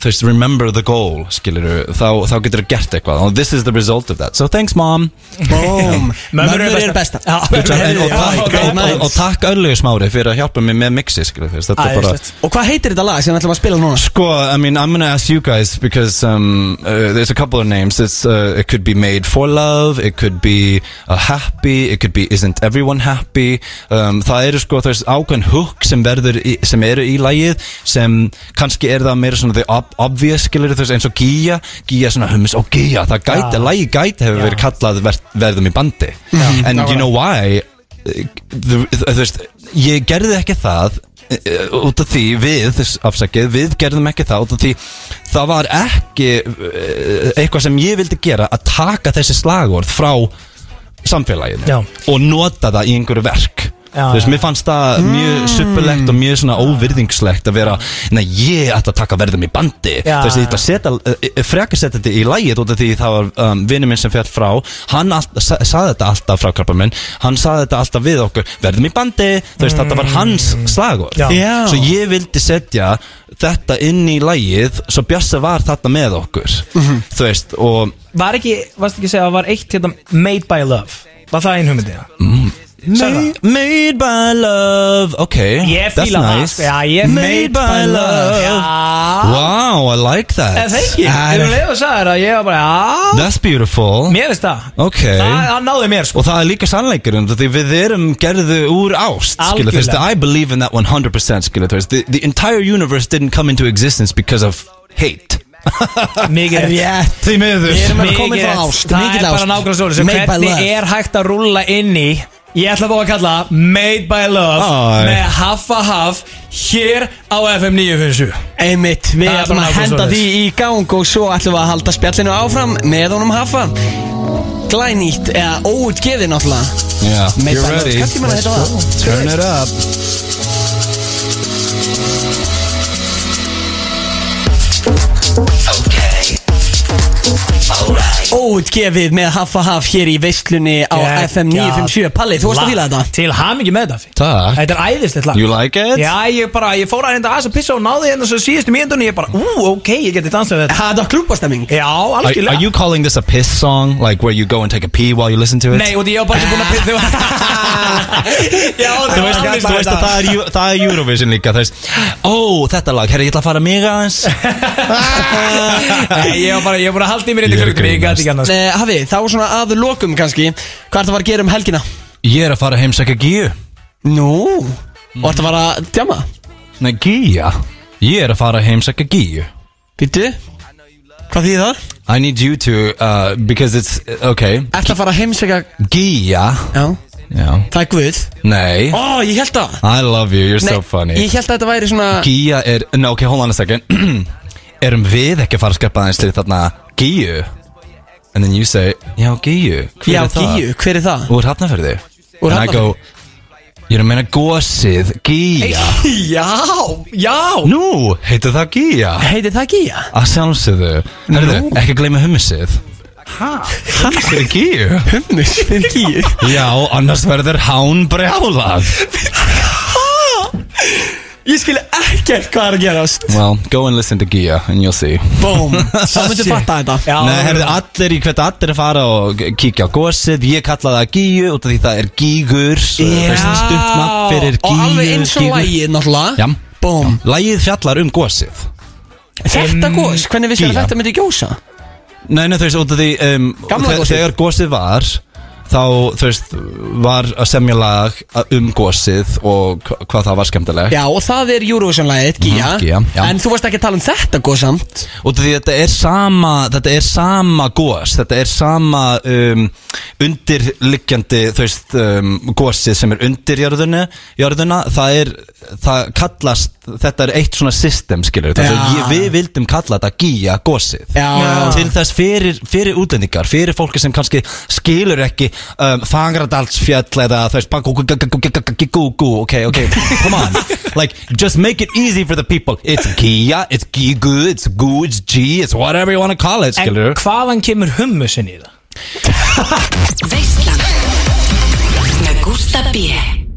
I: Þú veist, remember the goal, skilur Þá, þá getur þú gert eitthvað And this is the result of that So thanks mom
B: Bóm
G: Mömmur
B: Mömmur
G: eru
B: eru besta Já,
I: Og takk-
B: great
I: og- og
B: minds.
I: takk öllu smári fyrir að hjálpa mig með mixi, skilur Þetta er bara
G: Æðislegt.
B: Og hvað heitir þetta lag sem við ætlum að spila núna?
I: Sko, I mean, I'm gonna ask you guys because um, uh, there's a couple of names. It's uh, it could be made for love, it could be uh, happy, it could be isn't everyone happy. Um, það eru sko þess ákveðin hook sem verður í, sem eru í lagið sem kannski er það meira svona the ob obvious skilur þess eins og gíja, gíja svona hummus og gíja. Það gæti,
G: Já.
I: ja. lagið gæti hefur
G: Já.
I: verið kallað ver verðum í bandi. And you know why? Uh, Þú þú veist, ég gerði ekki það uh, út af því við, þess afsakið, við gerðum ekki það út af því það var ekki uh, eitthvað sem ég vildi gera að taka þessi slagorð frá samfélaginu
G: Já.
I: og nota það í einhverju verk
G: Já,
I: þú veist,
G: já.
I: mér fannst það mjög suppulegt og mjög svona óvirðingslegt að vera, neða ég ætla að taka verðum í bandi,
G: Já,
I: þú veist, ég
G: já.
I: ætla að setja uh, frekar setja þetta í lægið út af því það var um, vinnum minn sem fjall frá hann all, sa, saði þetta alltaf frá krabba minn hann saði þetta alltaf við okkur, verðum í bandi þú veist, þetta var hans
G: Mm.
I: slagor
G: Já.
B: Já.
I: svo ég vildi setja þetta inn í lægið svo Bjössi var þetta með okkur þú veist, og
G: Var ekki, varst ekki að segja, var eitt hérna Made by Love Var það einn hugmyndið?
I: Mm. Made, made by love Ok,
G: Ég
I: that's
G: fíla það,
I: nice
G: sko. Já, ég-
I: Made by love
G: Já.
I: Wow, I like that
G: En það ekki,
I: Ah,
G: ef við leiðum að sagða þér að ég var bara, já
I: That's beautiful
G: Mér veist það
I: Ok
G: Það það náði mér sko
I: Og það er líka sannleikurinn Því við erum gerðu úr ást Skilu, þú veist
G: Algjörlega.
I: I believe in that 100% Skilu, þú veist the, the entire universe didn't come into existence Because of hate
G: Mikið
I: Rétt Því miður
G: Við erum að
I: Mikið
G: koma inn frá
I: rétt.
G: ást Það er bara nákvæmlega svo Svo
I: Made by
G: Hvernig
I: love.
G: er hægt að rúlla inn í Ég ætla að fá að kalla það Made by Love
I: Æ.
G: Með Haffa Haff Hér á FM 957
B: Einmitt, við
G: Það
B: ætlum að
G: er bara nákvæmlega
B: henda því
G: svoleiðis.
B: í gang og svo ætlum við að halda spjallinu áfram með honum hafa Glænýtt, eða óutgefið náttúrulega
I: Yeah
B: Made by
I: You're
B: love.
I: ready
B: Kannski maður
I: Let's
B: heitir
I: go.
B: það.
I: Turn it up
B: Óutgefið með hafa haf hér í veislunni á
G: Geggjað
B: FM 957 Palli, þú varst að fíla
G: lag.
B: þetta?
G: Til hamingi með þetta
I: Takk
G: Þetta er æðislegt lag
I: You like it?
G: Ah. Já, ég bara, ég fór að hérna aðeins að pissa og náði hérna svo síðustu mínúndunni Ég bara, ú, ok, ég geti dansað við þetta
B: Ha, Þetta var klúbastemming
G: Já,
I: Are,
G: algjörlega
I: are you calling this a piss song? Like where you go and take a pee while you listen to it?
G: Nei, og því ég var bara ekki búin að pissa Já,
I: Þú veist,
G: algjörlega.
I: þú veist að það er, Eu- það er Eurovision líka Þú veist, ó, þetta lag, herri, ég ætla að fara mig aðeins
G: Nei, ég var bara, ég var bara að halda í mér
I: Ég
G: inn í
I: er að
G: klukkutími, ég gæti ekki sko. annars
B: Eh, Hafi, þá svona að lokum kannski Hvað ertu að fara að gera um helgina?
I: Ég er að fara að heimsækja Gíu
B: Nú, og ertu að fara að djama?
I: Nei, Gíja Ég er að fara að heimsækja Gíu
B: Býttu, hvað þýðir það?
I: I need you to, uh, because it's, ok
B: Ertu að fara að heimsækja
I: Gíja
B: Já,
I: Já,
B: það er guð
I: nei
B: Ó, ég held það
I: I love you, you're so
B: Nei,
I: funny
B: Ég held að þetta væri svona
I: Gíja er, no, ok, hold on a second Erum við ekki að fara að skrepa aðeins til þarna Gíu? And then you say, já, Gíu, hver
B: Já,
I: er það?
B: Gíu, hver er það?
I: Úr Hafnarferði
B: Úr
I: And I go, Ég er að meina gósið Gíja
B: Já, já
I: Nú, heitir það Gíja
B: Heitir það Gíja?
I: Að sjálfsögðu Herðu, ekki gleyma hummusið Hæ? Fyrir Gíju
B: Hummus fyrir Gíu
I: Já, annars verður hán brjálað
B: Ég skil ekkert hvað er að gerast
I: Well, go and listen to Gíja and you'll see
B: Bóm, þá myndir fatta þetta
G: Já,
I: Nei, herðu, allir í hvert allir að fara og kíkja á gósið Ég kalla það Gíju út af því það er Gígur
B: Já.
I: Stuttnapp fyrir Gíju
B: Og alveg eins og lægið náttúrulega
I: Já.
B: Bóm
I: Lægið fjallar um gósið
B: Þetta gos, hvernig vissi að
I: Gíja.
B: þetta myndi gjósa?
I: Nei, nei, þú veist, út af því um,
B: Gamla
I: þe-
B: gosið.
I: Þegar gósið var Þá, þú veist, var að semja lag um gósið Og hva- hvað það var skemmtilegt
B: Já, og það er Eurovision-lægið, Gíja
I: Mhm, Gígja, já.
B: En þú varst ekki að tala um þetta gos samt
I: Út af því þetta er sama Þetta er sama gós Þetta er sama um, undirliggjandi Þú veist, um, gósið sem er undir jörðunni, jörðuna Það er, það kallast Þetta er eitt svona system, skilur ja.
B: Já.
I: Við vildum kalla þetta gíja gósið
B: Já. Já.
I: Til þess fyrir, fyrir útlendingar Fyrir fólki sem kannski skilur ekki um, Fangradalsfjall eða Þú veist, bangú, gú, gú, gú, gú, gú, gú, gú Ok, ok, come on Like, just make it easy for the people It's gíja, it's gígu, it's gú, it's gí It's whatever you wanna call it,
G: En
I: skilur
G: hvaðan kemur hummusin í það?
F: Veislan Með Gústa B